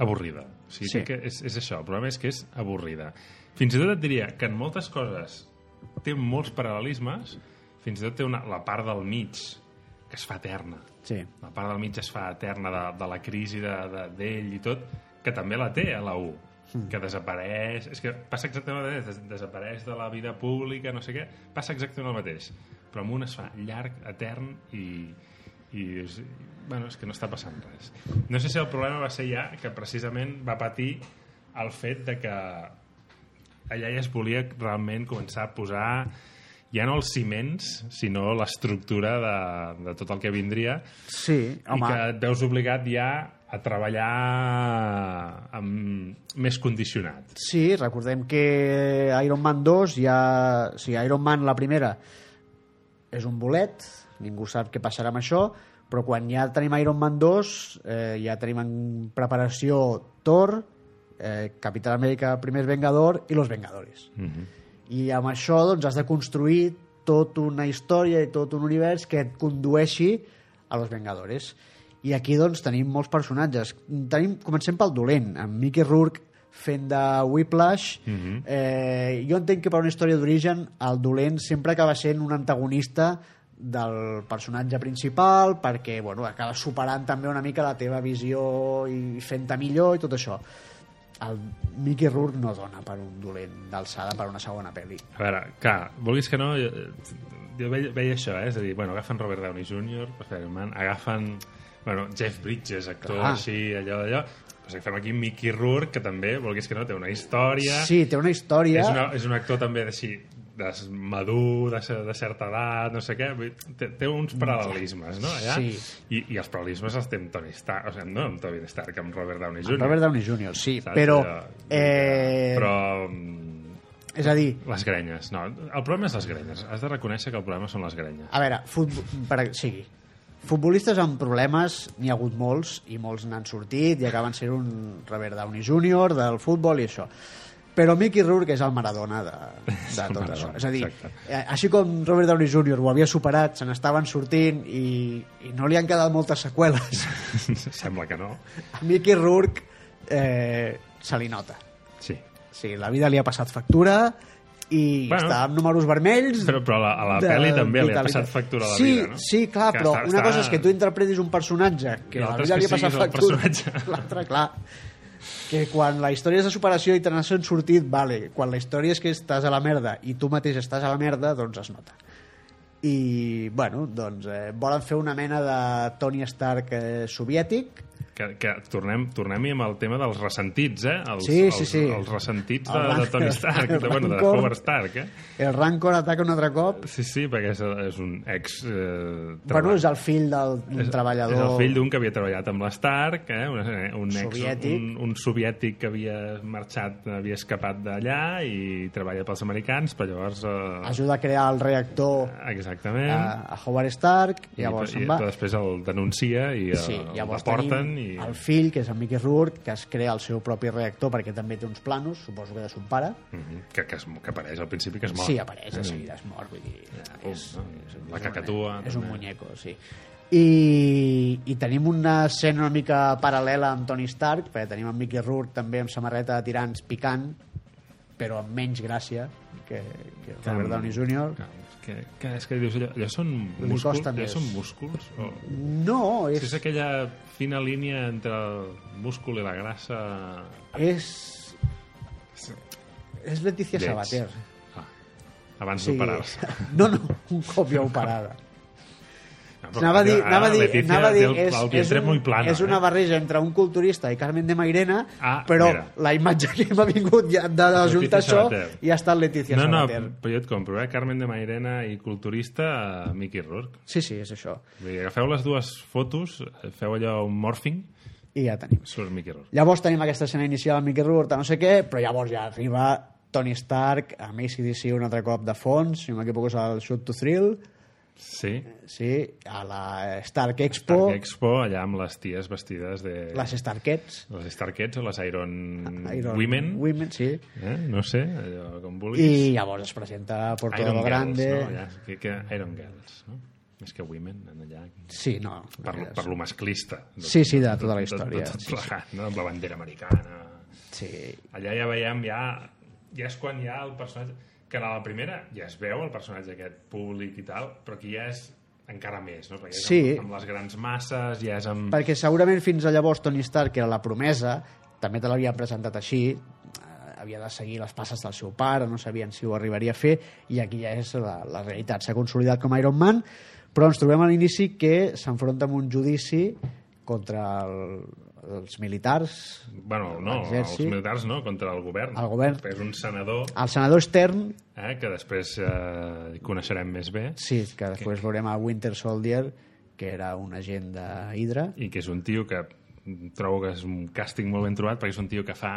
Speaker 2: avorrida. O sigui,
Speaker 1: Sí.
Speaker 2: sí. que és, és això, el problema és que és avorrida. Fins i tot et diria que en moltes coses té molts paral·lelismes, fins i tot té una, la part del mig que es fa eterna.
Speaker 1: Sí.
Speaker 2: La part del mig es fa eterna de, de la crisi d'ell de, d'ell i tot, que també la té a la U, que desapareix... És que passa exactament el mateix, des, desapareix de la vida pública, no sé què, passa exactament el mateix. Però amb un es fa llarg, etern i, i dius, bueno, és que no està passant res. No sé si el problema va ser ja que precisament va patir el fet de que allà ja es volia realment començar a posar ja no els ciments, sinó l'estructura de, de tot el que vindria
Speaker 1: Sí, home,
Speaker 2: i que et veus obligat ja a treballar amb... més condicionat.
Speaker 1: sí, recordem que Iron Man 2 ja... O sigui, Iron Man, la primera, és un bolet, ningú sap què passarà amb això, però quan ja tenim Iron Man 2, eh, ja tenim en preparació Thor, eh, Capitán América, Primer Vengador i Los Vengadores.
Speaker 2: Mm -hmm.
Speaker 1: I amb això doncs, has de construir tota una història i tot un univers que et condueixi a Los Vengadores. I aquí doncs, tenim molts personatges. Tenim, comencem pel dolent, amb Mickey Rourke fent de Whiplash. eh, jo entenc que per una història d'origen el dolent sempre acaba sent un antagonista del personatge principal perquè bueno, acaba superant també una mica la teva visió i fent-te millor i tot això el Mickey Rourke no dona per un dolent d'alçada per una segona pel·li.
Speaker 2: A veure, clar, vulguis que no, jo, jo veia, veia això, eh? és a dir, bueno, agafen Robert Downey Jr., per fer Iron Man, agafen bueno, Jeff Bridges, actor
Speaker 1: Clar.
Speaker 2: clar. així, allò, allò, però si fem aquí Mickey Rourke, que també, vulguis que no, té una història,
Speaker 1: Sí, té una història...
Speaker 2: és, una, és un actor també d'així des- madur, de, ce- de certa edat, no sé què, vull dir, té, té uns paral·lelismes, no? Allà?
Speaker 1: Mm. Sí.
Speaker 2: I, I els paral·lelismes els té amb Tony Stark, o sigui, no amb Tony Stark, amb Robert Downey Jr.
Speaker 1: Robert Downey Jr., sí,
Speaker 2: Saps?
Speaker 1: però...
Speaker 2: Allò,
Speaker 1: Eh,
Speaker 2: Però... mm,
Speaker 1: És a dir,
Speaker 2: Les grenyes, no. El problema és les grenyes. Has de reconèixer que el problema són les grenyes.
Speaker 1: a veure, futbol, per, sí, futbolistes amb problemes n'hi ha hagut molts i molts n'han sortit i acaben sent un Robert Downey Jr. del futbol i això. Però Mickey Rourke és el Maradona de, de
Speaker 2: el
Speaker 1: tot
Speaker 2: Maradona,
Speaker 1: això. És a dir,
Speaker 2: exacte.
Speaker 1: eh, així com Robert Downey Jr. ho havia superat, se n'estaven sortint i, i no li han quedat moltes seqüeles.
Speaker 2: Sembla que no.
Speaker 1: A Mickey Rourke eh, se li nota.
Speaker 2: Sí.
Speaker 1: Sí, la vida li ha passat factura i
Speaker 2: Bueno.
Speaker 1: bueno, està amb números vermells...
Speaker 2: Però, però a la, a la
Speaker 1: de
Speaker 2: pel·li també li ha
Speaker 1: vitalitat.
Speaker 2: passat factura a la
Speaker 1: sí,
Speaker 2: vida, no?
Speaker 1: Sí, clar,
Speaker 2: Que
Speaker 1: però
Speaker 2: està-
Speaker 1: una
Speaker 2: està-
Speaker 1: cosa és que tu interpretis un personatge
Speaker 2: I
Speaker 1: que la
Speaker 2: l'altra és
Speaker 1: vida
Speaker 2: que
Speaker 1: li ha passat
Speaker 2: siguis el
Speaker 1: factura.
Speaker 2: personatge.
Speaker 1: L'altre, clar. Que quan la història és de superació i te n'has sortit, vale. Quan la història és que estàs a la merda i tu mateix estàs a la merda, doncs es nota. I, bueno, doncs eh, volen fer una mena de Tony Stark eh, soviètic,
Speaker 2: Que, que tornem, tornem-hi amb el tema dels ressentits, eh? Els,
Speaker 1: Sí, sí,
Speaker 2: els,
Speaker 1: sí.
Speaker 2: Els ressentits de,
Speaker 1: El ran-
Speaker 2: de Tony Stark,
Speaker 1: el
Speaker 2: de, bueno, de
Speaker 1: rancor.
Speaker 2: Howard Stark, eh?
Speaker 1: El Rancor ataca un altre cop.
Speaker 2: Sí, sí, perquè és, és un ex... Eh,
Speaker 1: Bueno,
Speaker 2: treball-
Speaker 1: és el fill del d'un treballador...
Speaker 2: És el fill d'un que havia treballat amb l'Stark, eh? un, eh, un, ex,
Speaker 1: Soviètic.
Speaker 2: un, un soviètic que havia marxat, havia escapat d'allà i treballa pels americans, però llavors... Eh,
Speaker 1: Ajuda a crear el reactor
Speaker 2: exactament.
Speaker 1: a, a Howard Stark, i Ah, llavors
Speaker 2: I,
Speaker 1: se'n
Speaker 2: i,
Speaker 1: va.
Speaker 2: però després el denuncia i el,
Speaker 1: Sí,
Speaker 2: el
Speaker 1: llavors
Speaker 2: deporten
Speaker 1: tenim
Speaker 2: i...
Speaker 1: el fill, que és en Mickey Rourke, que es crea el seu propi reactor perquè també té uns planos, suposo que de son pare.
Speaker 2: Mhm, que, que, es, que apareix al principi que es mor.
Speaker 1: Sí, apareix de seguida, es mor, vull dir...
Speaker 2: Pum,
Speaker 1: és-
Speaker 2: no? la cacatua...
Speaker 1: És un
Speaker 2: també.
Speaker 1: muñeco, sí. I, i tenim una escena una mica paral·lela amb Tony Stark perquè tenim en Mickey Rourke també amb samarreta de tirants picant però amb menys gràcia que, que Robert Downey Jr.
Speaker 2: Que, que, que és que dius, allò, allò són
Speaker 1: Li
Speaker 2: músculs?
Speaker 1: costa
Speaker 2: Allò
Speaker 1: més.
Speaker 2: són músculs? O...
Speaker 1: No,
Speaker 2: Si és
Speaker 1: és,
Speaker 2: aquella fina línia entre el múscul i la grassa...
Speaker 1: és, és Leticia
Speaker 2: Lleig.
Speaker 1: Sabater.
Speaker 2: Ah, abans
Speaker 1: Sí.
Speaker 2: d'operar-se.
Speaker 1: No, no, un cop ja operada.
Speaker 2: No, però ah,
Speaker 1: Anava a dir,
Speaker 2: ara
Speaker 1: anava a dir,
Speaker 2: Letícia
Speaker 1: anava a dir
Speaker 2: té el,
Speaker 1: és,
Speaker 2: el
Speaker 1: és,
Speaker 2: vientre
Speaker 1: un,
Speaker 2: muy plano,
Speaker 1: és una
Speaker 2: eh?
Speaker 1: barreja entre un culturista i Carmen de Mairena,
Speaker 2: Ah,
Speaker 1: però
Speaker 2: mira.
Speaker 1: la imatge que m'ha vingut ja de la
Speaker 2: Leticia
Speaker 1: junta això
Speaker 2: Sabater.
Speaker 1: ja està en Leticia
Speaker 2: No, no,
Speaker 1: Sabater.
Speaker 2: però jo et compro, eh? Carmen de Mairena i culturista eh, Mickey Rourke.
Speaker 1: Sí, sí, és això.
Speaker 2: Vull dir, agafeu les dues fotos, feu allò un morphing,
Speaker 1: I ja tenim.
Speaker 2: surt Mickey Rourke.
Speaker 1: Llavors tenim aquesta escena inicial amb Mickey Rourke, no sé què, però llavors ja arriba Tony Stark, amb ACDC un altre cop de fons, si no m'equivoco és el Shoot to Thrill,
Speaker 2: Sí,
Speaker 1: sí, a la Stark Expo,
Speaker 2: Stark Expo, allà amb les ties vestides de...
Speaker 1: les Starkets,
Speaker 2: les Starkets o les Iron,
Speaker 1: Iron
Speaker 2: Mm, Women,
Speaker 1: Women, sí.
Speaker 2: eh? no sé, allò com vulguis.
Speaker 1: I llavors es presenta por todo
Speaker 2: Iron
Speaker 1: lo
Speaker 2: Girls,
Speaker 1: grande...
Speaker 2: no? Allà, que, que Iron Girls, no? Més que Women, en allà,
Speaker 1: Sí, no.
Speaker 2: per, lo- per lo masclista. de-
Speaker 1: Sí, sí, de tota la
Speaker 2: de-
Speaker 1: història,
Speaker 2: De, de,
Speaker 1: sí,
Speaker 2: tot
Speaker 1: sí.
Speaker 2: plegat, no? Amb la bandera americana.
Speaker 1: Sí.
Speaker 2: Allà ja veiem, ja, ja és quan hi ha el personatge... Que a la primera ja es veu el personatge aquest públic i tal, però aquí ja és encara més, no? Perquè ja és
Speaker 1: Sí.
Speaker 2: amb, amb les grans masses, ja és amb...
Speaker 1: Perquè segurament fins a llavors Tony Stark, que era la promesa, també te l'havien presentat així, eh, havia de seguir les passes del seu pare, no sabien si ho arribaria a fer, i aquí ja és la, la realitat. S'ha consolidat com a Iron Man, però ens trobem a l'inici que s'enfronta amb un judici contra el, els militars.
Speaker 2: Bueno, no, els
Speaker 1: l'exèrcit.
Speaker 2: militars no, contra el govern.
Speaker 1: El govern.
Speaker 2: És un senador
Speaker 1: El senador Stern,
Speaker 2: eh, que després eh, coneixerem més bé
Speaker 1: sí, que després veurem a Winter Soldier, que era un agent de Hydra,
Speaker 2: i que és un tio que trobo que és un càsting molt ben trobat perquè és un tio que fa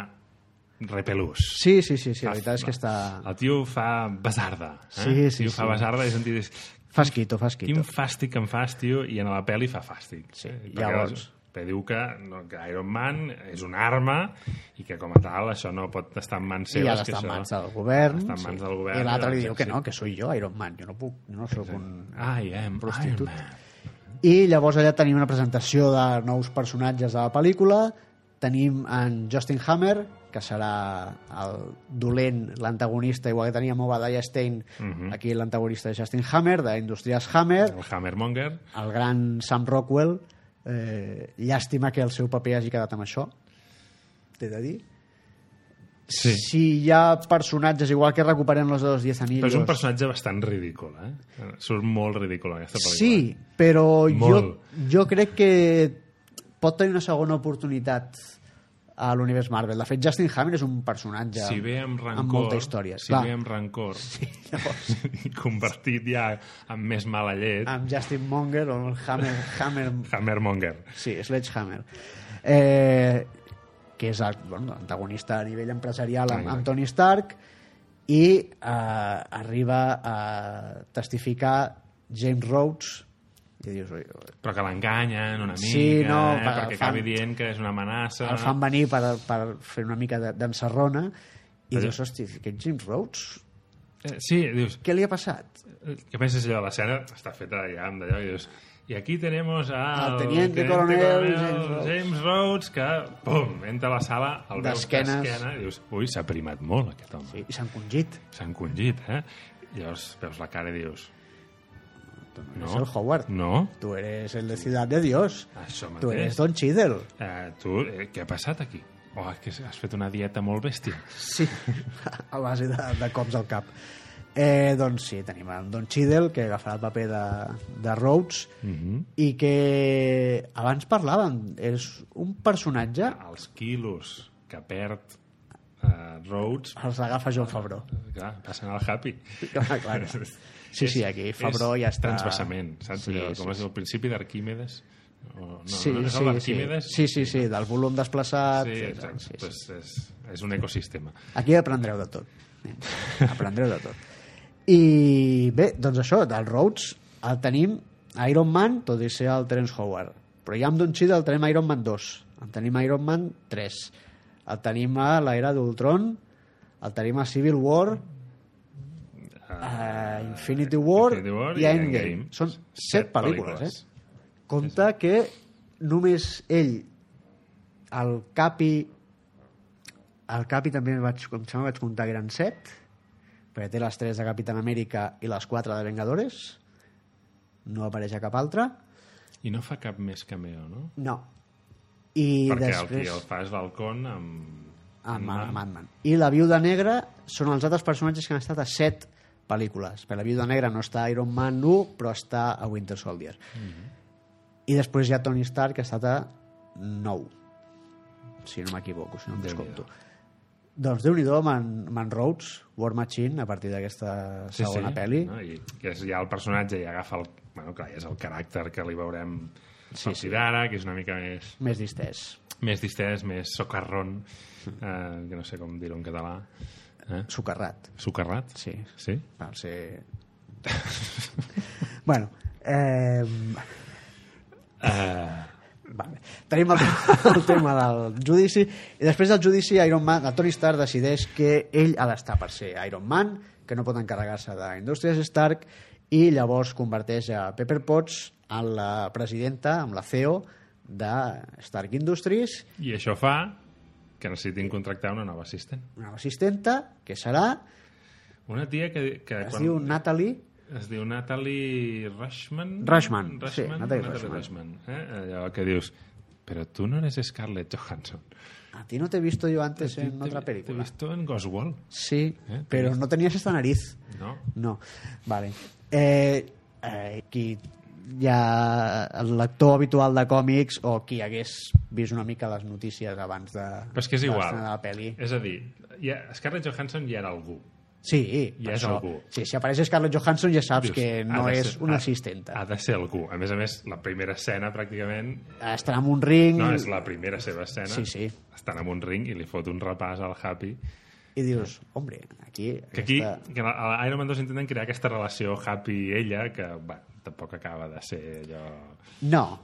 Speaker 2: repelús.
Speaker 1: Sí, sí, sí, sí la veritat és que està...
Speaker 2: El tio fa basarda. Eh?
Speaker 1: Sí, sí,
Speaker 2: El tio fa
Speaker 1: sí.
Speaker 2: basarda i és un tio que dius,
Speaker 1: Fas quito, fas quito.
Speaker 2: quin fàstic que em fas, tio, i en la pel·li fa fàstic.
Speaker 1: Sí,
Speaker 2: Eh? Perquè
Speaker 1: llavors.
Speaker 2: les- Perquè diu que, no, que Iron Man és una arma i que com a tal això no pot estar en mans
Speaker 1: I
Speaker 2: seves.
Speaker 1: ha d'estar
Speaker 2: que
Speaker 1: en
Speaker 2: això-
Speaker 1: mans del govern.
Speaker 2: Està en mans del govern,
Speaker 1: I l'altre li diu que
Speaker 2: sí.
Speaker 1: no, que soy jo, Iron Man. Jo no puc, jo no sóc un...
Speaker 2: I am Iron
Speaker 1: Prostitut.
Speaker 2: Man.
Speaker 1: I llavors allà tenim una presentació de nous personatges de la pel·lícula. Tenim en Justin Hammer, que serà el dolent, l'antagonista, igual que teníem Obadiah Stein,
Speaker 2: Mhm.
Speaker 1: aquí l'antagonista de Justin Hammer, d'Industrials Hammer,
Speaker 2: El Hammermonger.
Speaker 1: el gran Sam Rockwell. Eh, llàstima que el seu paper hagi quedat amb això, t'he de dir.
Speaker 2: Sí.
Speaker 1: si hi ha personatges igual que recuperen los de los 10 anillos
Speaker 2: Però és un personatge bastant ridícul, eh? Surt molt ridícul en aquesta pel·lícula.
Speaker 1: sí, però jo,
Speaker 2: eh? Molt.
Speaker 1: jo crec que pot tenir una segona oportunitat a l'univers Marvel de fet Justin Hammer és un personatge
Speaker 2: Si ve amb rancor...
Speaker 1: amb molta història
Speaker 2: Si
Speaker 1: clar,
Speaker 2: ve amb rancor... Sí, convertit ja en més mala llet...
Speaker 1: amb Justin Monger o el Hammer, Hammer
Speaker 2: Hammermonger.
Speaker 1: sí, Sledgehammer eh, que és el- bueno, l'antagonista a nivell empresarial amb, amb Tony Stark i eh, arriba a testificar James Rhodes i dius, oi,
Speaker 2: Però que l'enganyen una mica,
Speaker 1: Sí, no,
Speaker 2: eh?
Speaker 1: per-
Speaker 2: perquè
Speaker 1: fan-
Speaker 2: acabi dient que és una amenaça...
Speaker 1: el fan venir per, per fer una mica de- d'ensarrona i dius, hosti, aquest James Rhodes
Speaker 2: Eh, sí, dius...
Speaker 1: què li ha passat?
Speaker 2: eh, Què penses allò? L'escena està feta ja amb d'allò i dius... I aquí tenemos al
Speaker 1: Al teniente coronel James Rhodes.
Speaker 2: James Rhodes que, pum, entra a la sala, el veus
Speaker 1: D'esquenes.
Speaker 2: d'esquena i dius, ui, s'ha primat molt aquest home.
Speaker 1: I s'han congit.
Speaker 2: s'ha encongit, eh? I llavors veus la cara i dius...
Speaker 1: No. És el Howard.
Speaker 2: No,
Speaker 1: Tu eres el de Ciudad de Dios.
Speaker 2: Mm. això
Speaker 1: Tu eres
Speaker 2: mateix.
Speaker 1: Don Cheadle.
Speaker 2: Eh, tu, eh, què ha passat aquí? Oh, és que has fet una dieta molt bèstia.
Speaker 1: Sí, a base de, de cops al cap. Eh, doncs sí, tenim en Don Cheadle, que agafarà el paper de, de Rhodes,
Speaker 2: Mm.
Speaker 1: i que abans parlàvem, és un personatge,
Speaker 2: Els quilos que perd eh, Rhodes,
Speaker 1: els agafa John Favreau. Ah,
Speaker 2: clar, passen al happy.
Speaker 1: Clar, clar. Sí, sí, aquí Favreau
Speaker 2: és
Speaker 1: ja està...
Speaker 2: transvasament, saps?
Speaker 1: Sí,
Speaker 2: Sí,
Speaker 1: sí,
Speaker 2: com és el principi d'Arquímedes? O, no,
Speaker 1: Sí,
Speaker 2: no, és el
Speaker 1: sí, sí.
Speaker 2: d'Arquímedes?
Speaker 1: sí, sí, sí, del volum desplaçat.
Speaker 2: sí,
Speaker 1: etcètera. Sí,
Speaker 2: exacte.
Speaker 1: sí.
Speaker 2: Pues és, és un ecosistema.
Speaker 1: Aquí aprendreu de tot. Eh, Aprendreu de tot. I bé, doncs això, del Rhodes el tenim a Iron Man, tot i ser el Terence Howard. Però ja amb Don Cheadle el tenim a Iron Man 2, el tenim a Iron Man 3, el tenim a l'era d'Ultron, el tenim a Civil War, a Infinity War,
Speaker 2: Ah, Infinity War
Speaker 1: i a Endgame. Són set pel·lícules, eh? Compte que només ell, el Capi... El Capi també el vaig, em sembla que vaig comptar que eren set, perquè té les 3 de Capitán Amèrica i les 4 de Vengadores. No apareix a cap altre.
Speaker 2: I no fa cap més cameo, no?
Speaker 1: No. I
Speaker 2: Perquè el
Speaker 1: després...
Speaker 2: qui el fa és l'Halcón amb...
Speaker 1: amb el Madman. I la Viuda Negra són els altres personatges que han estat a set pel·lícules. Per la Viuda Negra no està a Iron Man 1, però està a Winter Soldier. I després hi ha Tony Stark, que ha estat a 9. Si no m'equivoco, si no em descompto. Doncs Déu-n'hi-do, Man, Man Rhodes, War Machine, a partir d'aquesta segona pel·li.
Speaker 2: No? I que és ja el personatge i agafa el... Bueno, clar, ja és el caràcter que li veurem sí, sí. d'ara, que és una mica més,
Speaker 1: Més distès.
Speaker 2: més distès, més socarrón, eh, que no sé com dir-ho en català. Eh?
Speaker 1: Socarrat,
Speaker 2: Socarrat?
Speaker 1: sí.
Speaker 2: Sí?
Speaker 1: Per ser... bueno, eh...
Speaker 2: Eh,
Speaker 1: Vale. Tenim el, el tema del judici i després del judici Iron Man, el Tony Stark decideix que ell ha d'estar per ser Iron Man, que no pot encarregar-se d'Indústries Stark i llavors converteix a Pepper Potts en la presidenta, amb la CEO de Stark Industries
Speaker 2: I això fa que necessitin contractar una nova assistent.
Speaker 1: una assistenta que serà,
Speaker 2: Una tia que... que
Speaker 1: es diu Natalie
Speaker 2: Es diu Natalie Rushman?
Speaker 1: Rushman,
Speaker 2: Rushman?
Speaker 1: sí, Natalie Rushman.
Speaker 2: Rushman. eh? Allò que dius, però tu no eres Scarlett Johansson.
Speaker 1: a ti no t'he visto yo antes en
Speaker 2: Te-
Speaker 1: otra
Speaker 2: T'he
Speaker 1: película
Speaker 2: visto en Goswell,
Speaker 1: sí,
Speaker 2: Eh,
Speaker 1: però no tenies esta nariz
Speaker 2: no?
Speaker 1: No, vale. Eh, eh, qui ja el lector habitual de còmics o qui hagués vist una mica les notícies abans de,
Speaker 2: Però és que és
Speaker 1: de
Speaker 2: igual.
Speaker 1: l'estrena de la pel·li.
Speaker 2: És a dir, ja, Scarlett Johansson ja era algú.
Speaker 1: Sí,
Speaker 2: Ja
Speaker 1: per
Speaker 2: és
Speaker 1: això.
Speaker 2: algú.
Speaker 1: Sí, si apareix Scarlett Johansson ja saps
Speaker 2: Dius,
Speaker 1: que no
Speaker 2: ha de
Speaker 1: és
Speaker 2: ser-
Speaker 1: una
Speaker 2: ha-
Speaker 1: assistenta.
Speaker 2: Ha de ser algú. A més a més, la primera escena, pràcticament,
Speaker 1: Estarà en un ring
Speaker 2: no, és la primera seva escena.
Speaker 1: Mm. Sí, sí.
Speaker 2: Estan en un ring i li fot un repàs al Happy.
Speaker 1: i dius, hombre, aquí...
Speaker 2: Que aquí,
Speaker 1: aquesta-
Speaker 2: que a a Iron Man 2 intenten crear aquesta relació Happy-ella, que, bueno, tampoc acaba de ser allò...
Speaker 1: No,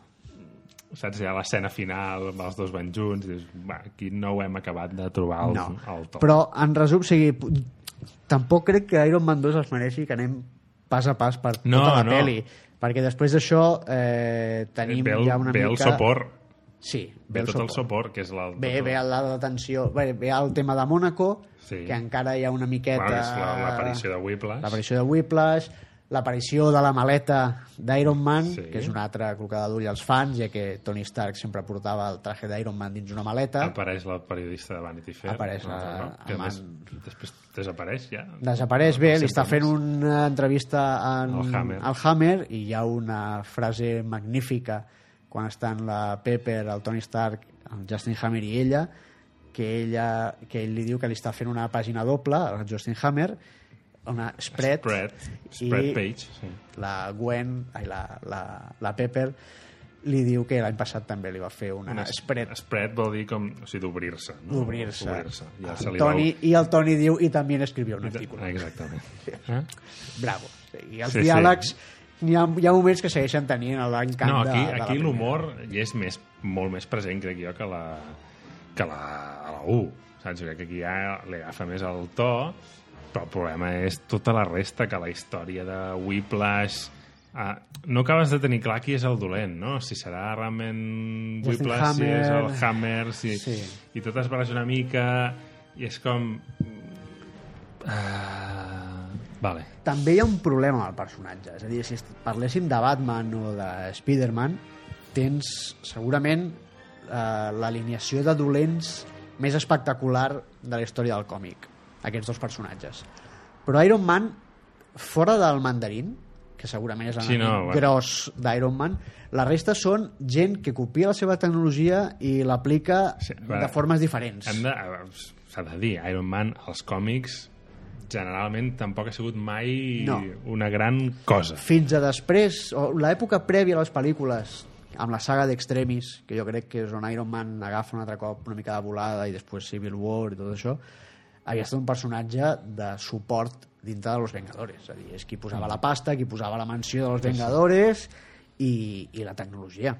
Speaker 2: saps, ja l'escena final amb els dos van junts, dius, va, aquí no ho hem acabat de trobar el,
Speaker 1: no.
Speaker 2: el top.
Speaker 1: Però, en resum, o sigui, p- tampoc crec que Iron Man 2 es mereixi que anem pas a pas per
Speaker 2: No,
Speaker 1: tota la
Speaker 2: no.
Speaker 1: pel·li. Perquè després d'això eh, tenim
Speaker 2: ve el,
Speaker 1: ja una
Speaker 2: ve
Speaker 1: mica...
Speaker 2: el suport,
Speaker 1: Sí,
Speaker 2: ve
Speaker 1: el
Speaker 2: tot el suport, que és la...
Speaker 1: Bé,
Speaker 2: tot
Speaker 1: ve
Speaker 2: el-
Speaker 1: la detenció, bé, ve el tema de Mònaco,
Speaker 2: Sí.
Speaker 1: que encara hi ha una miqueta...
Speaker 2: Bueno, és la- l'aparició de Whiplash.
Speaker 1: L'aparició de Whiplash, l'aparició de la maleta d'Iron Man,
Speaker 2: Sí.
Speaker 1: que és una altra clocada d'ull als fans, ja que Tony Stark sempre portava el traje d'Iron Man dins una maleta.
Speaker 2: Apareix la periodista de Vanity Fair.
Speaker 1: Apareix
Speaker 2: no,
Speaker 1: la-
Speaker 2: no, que
Speaker 1: amb
Speaker 2: a més,
Speaker 1: en-
Speaker 2: després desapareix ja.
Speaker 1: Desapareix bé, li està
Speaker 2: Sempre
Speaker 1: fent
Speaker 2: més.
Speaker 1: una entrevista en,
Speaker 2: Al Hammer.
Speaker 1: al Hammer i hi ha una frase magnífica quan estan la Pepper, el Tony Stark, el Justin Hammer i ella, que, ella, que ell li diu que li està fent una pàgina doble, el Justin Hammer, una spread,
Speaker 2: Spread,
Speaker 1: i
Speaker 2: spread page, sí.
Speaker 1: la Gwen, ai, la, la, la Pepper, li diu que l'any passat també li va fer una, una Ah, spread
Speaker 2: Spread vol dir com, o sigui, d'obrir-se. No?
Speaker 1: d'obrir-se.
Speaker 2: Obrir-se. Ja se
Speaker 1: El
Speaker 2: li
Speaker 1: Tony,
Speaker 2: veu-
Speaker 1: I el Tony diu, i també n'escrivió un article.
Speaker 2: Ah, Exactament. Eh?
Speaker 1: bravo. I els
Speaker 2: Sí,
Speaker 1: sí,
Speaker 2: sí.
Speaker 1: diàlegs, Hi, ha, hi ha moments que segueixen tenint l'encant
Speaker 2: No, aquí,
Speaker 1: de, de la
Speaker 2: aquí
Speaker 1: primera.
Speaker 2: l'humor hi és més, molt més present, crec jo, que la, que la, a la 1. Saps? Jo crec que aquí ja li agafa més el to, però el problema és tota la resta, que la història de Whiplash... Ah, no acabes de tenir clar qui és el dolent, no? Si serà realment
Speaker 1: Justin
Speaker 2: Whiplash, si és el
Speaker 1: Hammer.
Speaker 2: Hammer, si...
Speaker 1: Sí.
Speaker 2: I tot es barreja una mica, i és com... Ah, vale.
Speaker 1: També hi ha un problema amb el personatge. És a dir, si est- parléssim de Batman o de Spider-Man, tens segurament eh, l'alineació de dolents més espectacular de la història del còmic, aquests dos personatges. Però Iron Man, fora del mandarín, que segurament és
Speaker 2: Sí,
Speaker 1: l'enemic
Speaker 2: no, bueno.
Speaker 1: gros d'Iron Man, la resta són gent que copia la seva tecnologia i l'aplica
Speaker 2: Sí, va.
Speaker 1: de formes diferents.
Speaker 2: Hem de... a- S'ha de dir, Iron Man als còmics generalment tampoc ha sigut mai
Speaker 1: No.
Speaker 2: una gran cosa.
Speaker 1: fins a després, o l'època prèvia a les pel·lícules, amb la saga d'Extremis, que jo crec que és on Iron Man agafa un altre cop una mica de volada i després Civil War i tot això, havia estat un personatge de suport dintre de Los Vengadores. És a dir, és qui posava la pasta, qui posava la mansió de Los Vengadores i, i la tecnologia.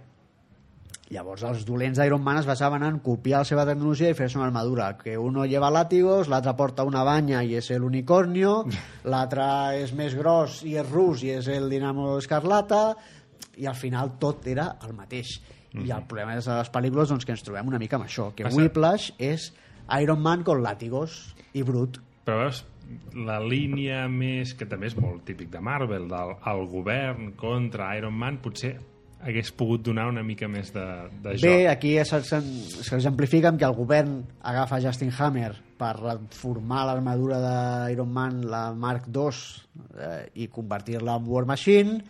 Speaker 1: Llavors els dolents d'Iron Man es basaven en copiar la seva tecnologia i fer-se una armadura, que uno lleva látigos, l'altre porta una banya i és el unicornio, l'altre és més gros i és rus i és el dinamo escarlata, i al final tot era el mateix. I el problema de les pel·lícules doncs, que ens trobem una mica amb això, que
Speaker 2: Passa-
Speaker 1: Whiplash és Iron Man con látigos i brut.
Speaker 2: Però veus, la línia més, que també és molt típic de Marvel, del el govern contra Iron Man, potser hagués pogut donar una mica més de, de joc.
Speaker 1: Bé, aquí es- es- s'exemplifica amb que el govern agafa Justin Hammer per formar l'armadura d'Iron Man, la Mark II, eh, i convertir-la en War Machine,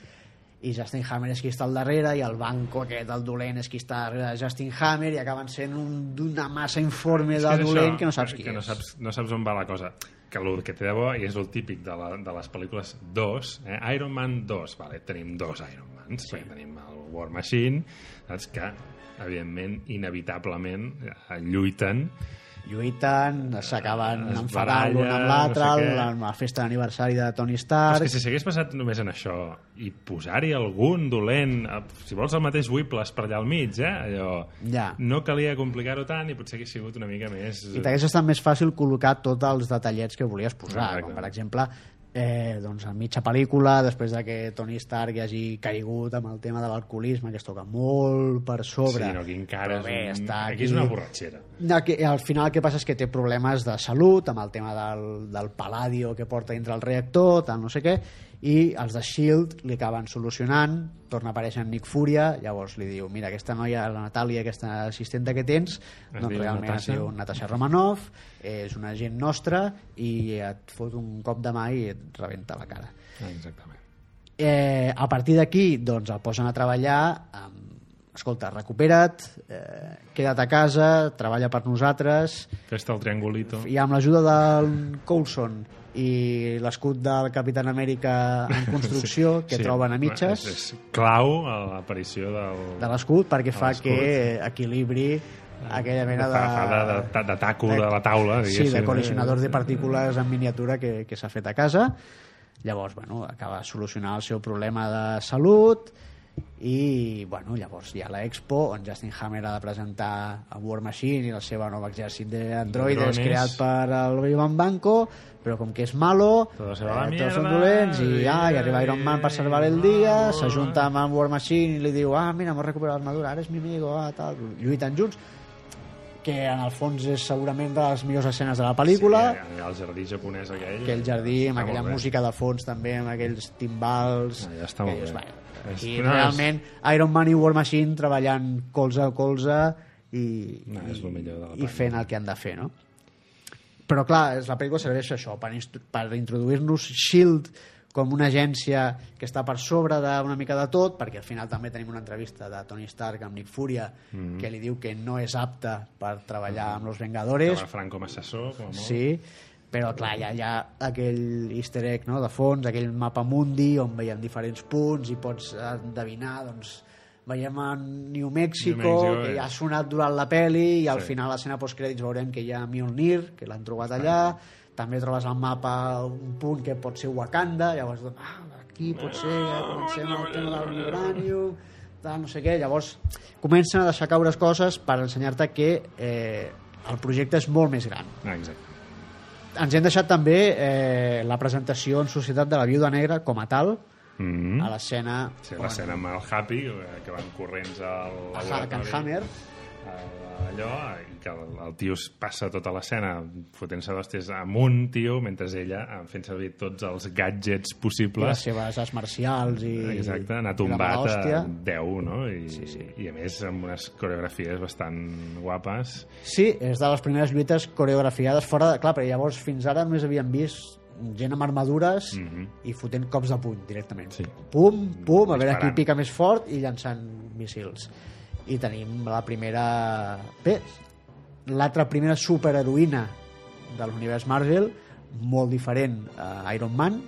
Speaker 1: i Justin Hammer és qui està al darrere, i el banco aquest, el dolent, és qui està darrere de Justin Hammer, i acaben sent un, d'una massa informe
Speaker 2: És
Speaker 1: del
Speaker 2: és
Speaker 1: dolent
Speaker 2: això,
Speaker 1: que no saps qui
Speaker 2: que no
Speaker 1: és.
Speaker 2: saps, no saps on va la cosa que el que té de bo i és el típic de, la, de les pel·lícules 2 eh? Iron Man 2, vale, tenim dos Iron Mans sí. perquè tenim el War Machine saps que evidentment inevitablement eh, lluiten
Speaker 1: Lluiten, s'acaben
Speaker 2: Es
Speaker 1: enfadant l'un amb
Speaker 2: barallen,
Speaker 1: l'altre,
Speaker 2: no sé què.
Speaker 1: la- la festa d'aniversari de Tony
Speaker 2: Però
Speaker 1: Stark...
Speaker 2: és que si s'hagués passat només en això i posar-hi algun dolent eh, si vols el mateix Whiplash per allà al mig eh? Allò,
Speaker 1: Ja.
Speaker 2: no calia complicar-ho tant i potser hagués sigut una mica més
Speaker 1: i t'hagués estat més fàcil col·locar tots els detallets que volies posar,
Speaker 2: Correcte.
Speaker 1: com per exemple eh, doncs a mitja pel·lícula després de que Tony Stark hi hagi caigut amb el tema de l'alcoholisme que es toca molt per sobre
Speaker 2: sí, no, aquí encara
Speaker 1: Però bé,
Speaker 2: és, un...
Speaker 1: està
Speaker 2: aquí és una borratxera
Speaker 1: no, que, al final el que passa és que té problemes de salut amb el tema del, del paladio que porta dintre el reactor, tal no sé què i els de S.H.I.E.L.D. li acaben solucionant torna a aparèixer en Nick Furia llavors li diu, mira, aquesta noia, la Natàlia aquesta assistenta que tens,
Speaker 2: Es
Speaker 1: doncs
Speaker 2: diu
Speaker 1: realment
Speaker 2: Natasha.
Speaker 1: es diu Natasha Romanoff és una gent nostra i et fot un cop de mà i et rebenta la cara
Speaker 2: exactament
Speaker 1: eh, a partir d'aquí doncs el posen a treballar amb, escolta, recupera't eh, queda't a casa, treballa per nosaltres
Speaker 2: Fes-te el triangulito.
Speaker 1: i amb l'ajuda del Coulson i l'escut del Capitán Amèrica en construcció que troben a mitges
Speaker 2: És, és clau a l'aparició del...
Speaker 1: de l'escut perquè fa
Speaker 2: l'escut.
Speaker 1: que equilibri aquella mena de,
Speaker 2: de, de, de, de taco de, la taula,
Speaker 1: sí,
Speaker 2: diguéssim. eh?
Speaker 1: de col·lisionador de partícules en miniatura que, que s'ha fet a casa llavors, bueno, acaba de solucionar el seu problema de salut i, bueno, llavors hi ha l'expo on Justin Hammer ha de presentar a War Machine i el seu nou exèrcit d'androides
Speaker 2: Drones.
Speaker 1: creat per el Ivan Banco però com que és malo eh,
Speaker 2: Todo se va a la
Speaker 1: tots són
Speaker 2: mierda,
Speaker 1: dolents i,
Speaker 2: i-
Speaker 1: ah, i arriba Iron Man per salvar el
Speaker 2: i-
Speaker 1: dia
Speaker 2: no,
Speaker 1: s'ajunta amb en War Machine i li diu ah, mira, m'ho recuperat l'armadura, ara és mi amigo ah, tal. lluiten junts que en el fons és segurament de les millors escenes de la pel·lícula,
Speaker 2: Sí, eh? allà al jardí japonès aquell.
Speaker 1: aquell jardí amb
Speaker 2: Està
Speaker 1: aquella
Speaker 2: molt bé.
Speaker 1: música de fons també, amb aquells timbals
Speaker 2: Ah, ja està molt bé. És-
Speaker 1: i
Speaker 2: no, és-
Speaker 1: realment Iron Man i War Machine treballant colze a colze i,
Speaker 2: No, és lo millor de la
Speaker 1: i fent el que han de fer no? però clar, és- la pel·lícula serveix això per, instru- per introduir-nos S.H.I.E.L.D. E com una agència que està per sobre d'una mica de tot, perquè al final també tenim una entrevista de Tony Stark amb Nick Furia
Speaker 2: Mm-hmm.
Speaker 1: que li diu que no és apte per treballar amb los
Speaker 2: Que
Speaker 1: Vengadores
Speaker 2: va Franco com a assessor, com a molt.
Speaker 1: Sí, però clar, hi ha, hi ha aquell easter egg no? de fons, aquell mapa mundi on veiem diferents punts i pots endevinar, doncs, veiem a New Mexico,
Speaker 2: New Mexico,
Speaker 1: que
Speaker 2: eh.
Speaker 1: ja ha sonat durant la peli i al
Speaker 2: Sí.
Speaker 1: final a l'escena postcrèdits veurem que hi ha Mjolnir, que l'han trobat allà, també trobes al mapa un punt que pot ser Wakanda, llavors doncs, ah, aquí pot ser, ja
Speaker 2: Ah,
Speaker 1: comencem amb el tema de l'Uranium, tal, no sé què, llavors comencen a deixar caure coses per ensenyar-te que eh, el projecte és molt més gran
Speaker 2: Ah, exacte.
Speaker 1: ens hem deixat també eh, la presentació en societat de la viuda negra com a tal,
Speaker 2: Mm
Speaker 1: a l'escena
Speaker 2: Sí,
Speaker 1: on
Speaker 2: l'escena amb el Happy, eh, que van corrents al
Speaker 1: a Hack
Speaker 2: laboratori.
Speaker 1: and Hammer
Speaker 2: a- allò, i que el, el tio es passa tota l'escena fotent-se d'hòsties amb un tio, mentre ella, eh, fent servir tots els gadgets
Speaker 1: i les
Speaker 2: possibles,
Speaker 1: seves arts marcials i,
Speaker 2: Exacte, anar
Speaker 1: i la mala
Speaker 2: tombat eh, a
Speaker 1: hòstia.
Speaker 2: 10, no? I, sí, sí. I a més amb unes coreografies bastant guapes.
Speaker 1: Sí, és de les primeres lluites coreografiades fora de... Clar, perquè llavors fins ara només havíem vist gent amb armadures
Speaker 2: Mhm.
Speaker 1: i fotent cops de puny directament.
Speaker 2: Sí.
Speaker 1: Pum, pum, a veure
Speaker 2: Disparant.
Speaker 1: qui pica més fort i llançant míssils. I tenim la primera... Bé, l'altra primera superheroïna de l'univers Marvel, molt diferent a Iron Man,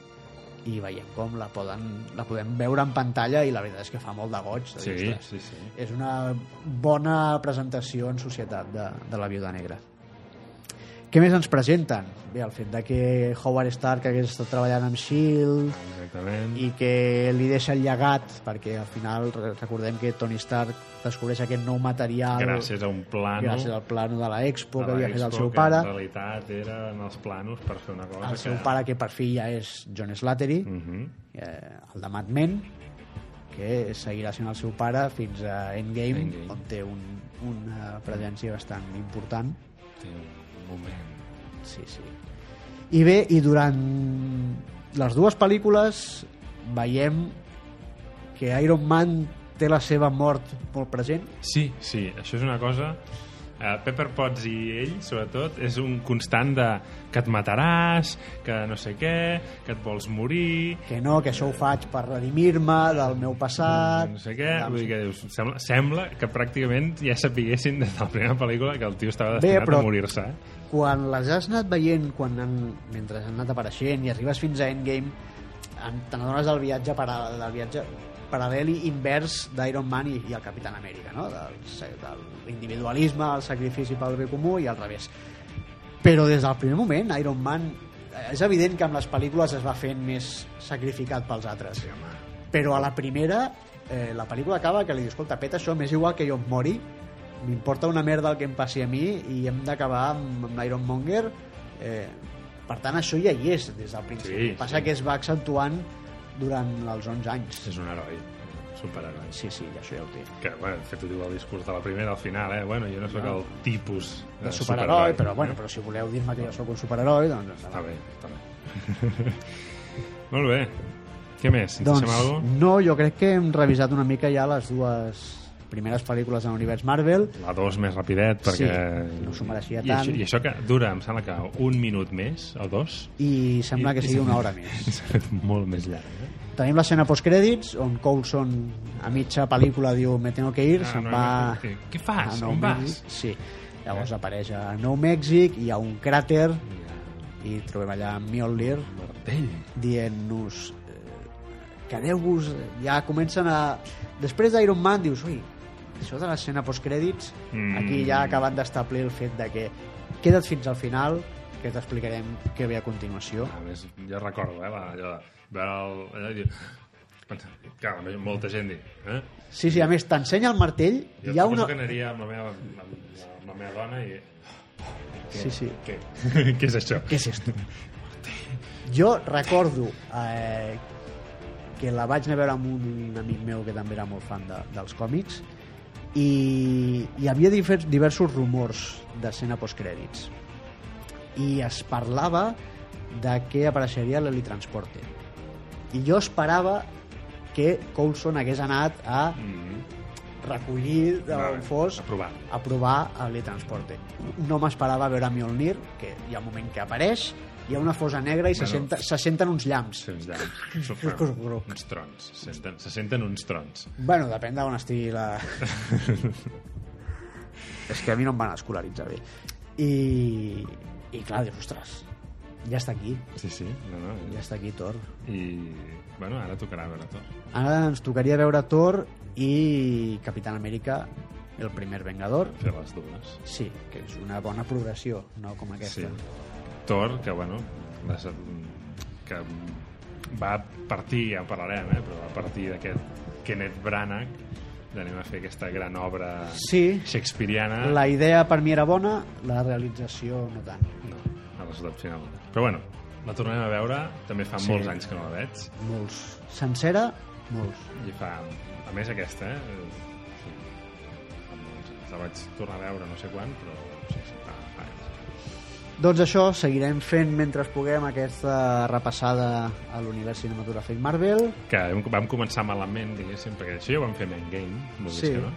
Speaker 1: i veiem com la, poden, la podem veure en pantalla i la veritat és que fa molt de goig. de dir,
Speaker 2: Sí,
Speaker 1: "Ostres,
Speaker 2: sí, sí.
Speaker 1: és una bona presentació en societat de, de la Viuda Negra. Què més ens presenten? Bé, el fet de que Howard Stark hagués estat treballant amb S.H.I.E.L.D.
Speaker 2: Exactament. I...
Speaker 1: E i que li deixa el llegat, perquè al final re- recordem que Tony Stark descobreix aquest nou material
Speaker 2: Gràcies a un plano
Speaker 1: gràcies al plano de la Expo
Speaker 2: de
Speaker 1: que
Speaker 2: la
Speaker 1: havia fet el
Speaker 2: Expo,
Speaker 1: seu
Speaker 2: que
Speaker 1: pare,
Speaker 2: en realitat eren els planos per fer una cosa
Speaker 1: el seu
Speaker 2: que...
Speaker 1: pare que per fi ja és John Slattery,
Speaker 2: Mhm.
Speaker 1: eh, el de Mad Men que seguirà sent el seu pare fins a Endgame,
Speaker 2: Endgame.
Speaker 1: on té un, una presència bastant important.
Speaker 2: Té un moment.
Speaker 1: Sí, sí. I bé, i durant les dues pel·lícules veiem que Iron Man té la seva mort molt present.
Speaker 2: Sí, sí, això és una cosa... Uh, Pepper Potts i ell, sobretot, és un constant de que et mataràs, que no sé què, que et vols morir,
Speaker 1: Que no, que això ho faig per redimir-me del meu passat...
Speaker 2: Eh. Mm, no sé què, vull dir que dius, sembla, sembla que pràcticament ja sapiguessin des de la primera pel·lícula que el tio estava
Speaker 1: Bé,
Speaker 2: destinat
Speaker 1: però-
Speaker 2: a morir-se. eh?
Speaker 1: Quan les has anat veient, quan han, mentre han anat apareixent i arribes fins a Endgame, en, te n'adones del viatge, para, del viatge paral·lel i invers d'Iron Man i, i el Capitán Amèrica, no? Del, sa- de l'individualisme, el sacrifici pel bé comú i al revés. Però des del primer moment, Iron Man eh, és evident que amb les pel·lícules es va fent més sacrificat pels altres. Però a la primera, eh, la pel·lícula acaba que li diu, escolta, peta això, m'és igual que jo em mori, m'importa una merda el que em passi a mi i hem d'acabar amb, amb Iron Monger. Eh, per tant, això ja hi és des del principi.
Speaker 2: Sí,
Speaker 1: Passa
Speaker 2: sí.
Speaker 1: que es va accentuant durant els 11 anys.
Speaker 2: És un heroi, un superheroi.
Speaker 1: Sí, sí, ja això ja ho té.
Speaker 2: Que, bueno, de fet, ho diu el discurs de la primera al final, eh? Bueno, jo no sóc el tipus eh,
Speaker 1: De superheroi, però, bueno, però si voleu dir-me que jo sóc un superheroi, doncs...
Speaker 2: Està bé, està bé. Molt bé. Què més? Ens
Speaker 1: Doncs,
Speaker 2: deixem alguna cosa?
Speaker 1: no, jo crec que hem revisat una mica ja les dues primeres pel·lícules de l'univers Marvel.
Speaker 2: La 2 més rapidet, perquè...
Speaker 1: Sí, no s'ho mereixia
Speaker 2: I
Speaker 1: tant.
Speaker 2: Això, I això que dura, em sembla que un minut més, o dos,
Speaker 1: i sembla
Speaker 2: I-
Speaker 1: que
Speaker 2: i
Speaker 1: sigui una
Speaker 2: sembla-
Speaker 1: hora més.
Speaker 2: s'ha fet molt més llarg. Eh?
Speaker 1: Tenim l'escena postcrèdits, on Coulson a mitja pel·lícula diu me tengo que ir,
Speaker 2: Ah,
Speaker 1: se'n
Speaker 2: no,
Speaker 1: va... Ah,
Speaker 2: no, què fas?
Speaker 1: a Nou
Speaker 2: On vas?
Speaker 1: Mèxic. Sí. Llavors apareix a Nou Mèxic, hi ha un cràter,
Speaker 2: eh,
Speaker 1: i trobem allà Mjolnir
Speaker 2: Martell.
Speaker 1: dient-nos eh, quedeu-vos, ja comencen a... Després d'Iron Man dius, ui, això de l'escena postcrèdits,
Speaker 2: Mm.
Speaker 1: aquí ja ha acabat d'establir el fet de que queda't fins al final, que t'explicarem què ve a continuació.
Speaker 2: A més, jo recordo, eh, la, allò de veure el... Allò de dir... Clar, a més, molta gent diu, eh?
Speaker 1: Sí, sí, a més, t'ensenya el martell,
Speaker 2: Jo
Speaker 1: hi ha
Speaker 2: suposo
Speaker 1: una...
Speaker 2: que aniria amb la meva, amb, la- amb la meva dona i...
Speaker 1: Sí, sí.
Speaker 2: Què? què és això?
Speaker 1: Què és esto? Jo recordo eh, que la vaig anar a veure amb un amic meu que també era molt fan de, dels còmics i hi havia divers, diversos rumors d'escena postcrèdits i es parlava de que apareixeria l'helitransporte i jo esperava que Coulson hagués anat a
Speaker 2: Mm,
Speaker 1: recollir d'on fos
Speaker 2: Aprovat.
Speaker 1: a provar el transporte. No m'esperava veure Mjolnir, que hi ha un moment que apareix, hi ha una fosa negra i se,
Speaker 2: Bueno.
Speaker 1: senta, se senten uns llamps.
Speaker 2: Sens
Speaker 1: Cruc,
Speaker 2: dubte.
Speaker 1: cruc, cruc.
Speaker 2: Uns trons. Se senten, se senten uns trons.
Speaker 1: Bueno, depèn d'on estigui la... És que a mi no em van escolaritzar bé. I, i clar, dius, ostres, ja està aquí,
Speaker 2: Sí, sí. No, no.
Speaker 1: ja està aquí Thor.
Speaker 2: I, bueno, ara tocarà veure tot.
Speaker 1: Ara ens tocaria veure Thor i Capitán Amèrica, el primer Vengador.
Speaker 2: Fer les dues.
Speaker 1: Sí, que és una bona progressió, no com
Speaker 2: Sí.
Speaker 1: aquesta.
Speaker 2: Thor, que, bueno, les, que va partir, ja en parlarem, eh? però va partir d'aquest Kenneth Branagh d'anem a fer aquesta gran obra
Speaker 1: Sí.
Speaker 2: shakespeariana
Speaker 1: La idea per mi era bona, la realització no tant.
Speaker 2: No, a resultat final. Però bueno, la tornem a veure. També fa
Speaker 1: Sí.
Speaker 2: molts anys que no la veig.
Speaker 1: Molts. Sencera, molts.
Speaker 2: I fa... A més, aquesta, eh? eh, Sí. Fa molts anys. La vaig tornar a veure no sé quan, però sí, sí, fa, fa anys.
Speaker 1: Doncs això, seguirem fent mentre puguem aquesta repassada a l'univers cinematogràfic Marvel.
Speaker 2: Que hem- vam començar malament, diguéssim, perquè això ja ho vam fer amb Endgame, vulguis
Speaker 1: Sí.
Speaker 2: que no.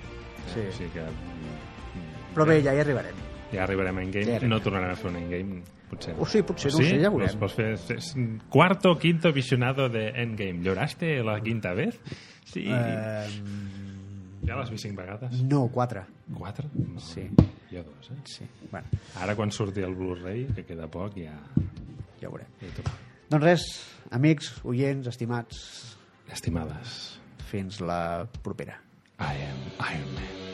Speaker 1: Sí.
Speaker 2: O sigui que... mm,
Speaker 1: Però bé, ja hi arribarem.
Speaker 2: Ja arribarem a Endgame,
Speaker 1: Ja
Speaker 2: ja
Speaker 1: arribarem.
Speaker 2: no tornarem a fer un Endgame, potser.
Speaker 1: O sí, potser, no ho sé, ja veurem.
Speaker 2: Pues, pues, fer, fer- cuarto o quinto visionado de Endgame. ¿Lloraste la quinta vez? Sí.
Speaker 1: Eh,
Speaker 2: Ja l'has vist cinc vegades?
Speaker 1: no, quatre.
Speaker 2: Quatre? No.
Speaker 1: mm. Sí.
Speaker 2: Jo dos, eh?
Speaker 1: Sí, bueno,
Speaker 2: Ara quan surti el Blu-ray, que queda poc, ja...
Speaker 1: ja ho veurem.
Speaker 2: ja toca.
Speaker 1: Doncs res, amics, oients, estimats,
Speaker 2: Estimades,
Speaker 1: fins la propera.
Speaker 2: I am Iron Man.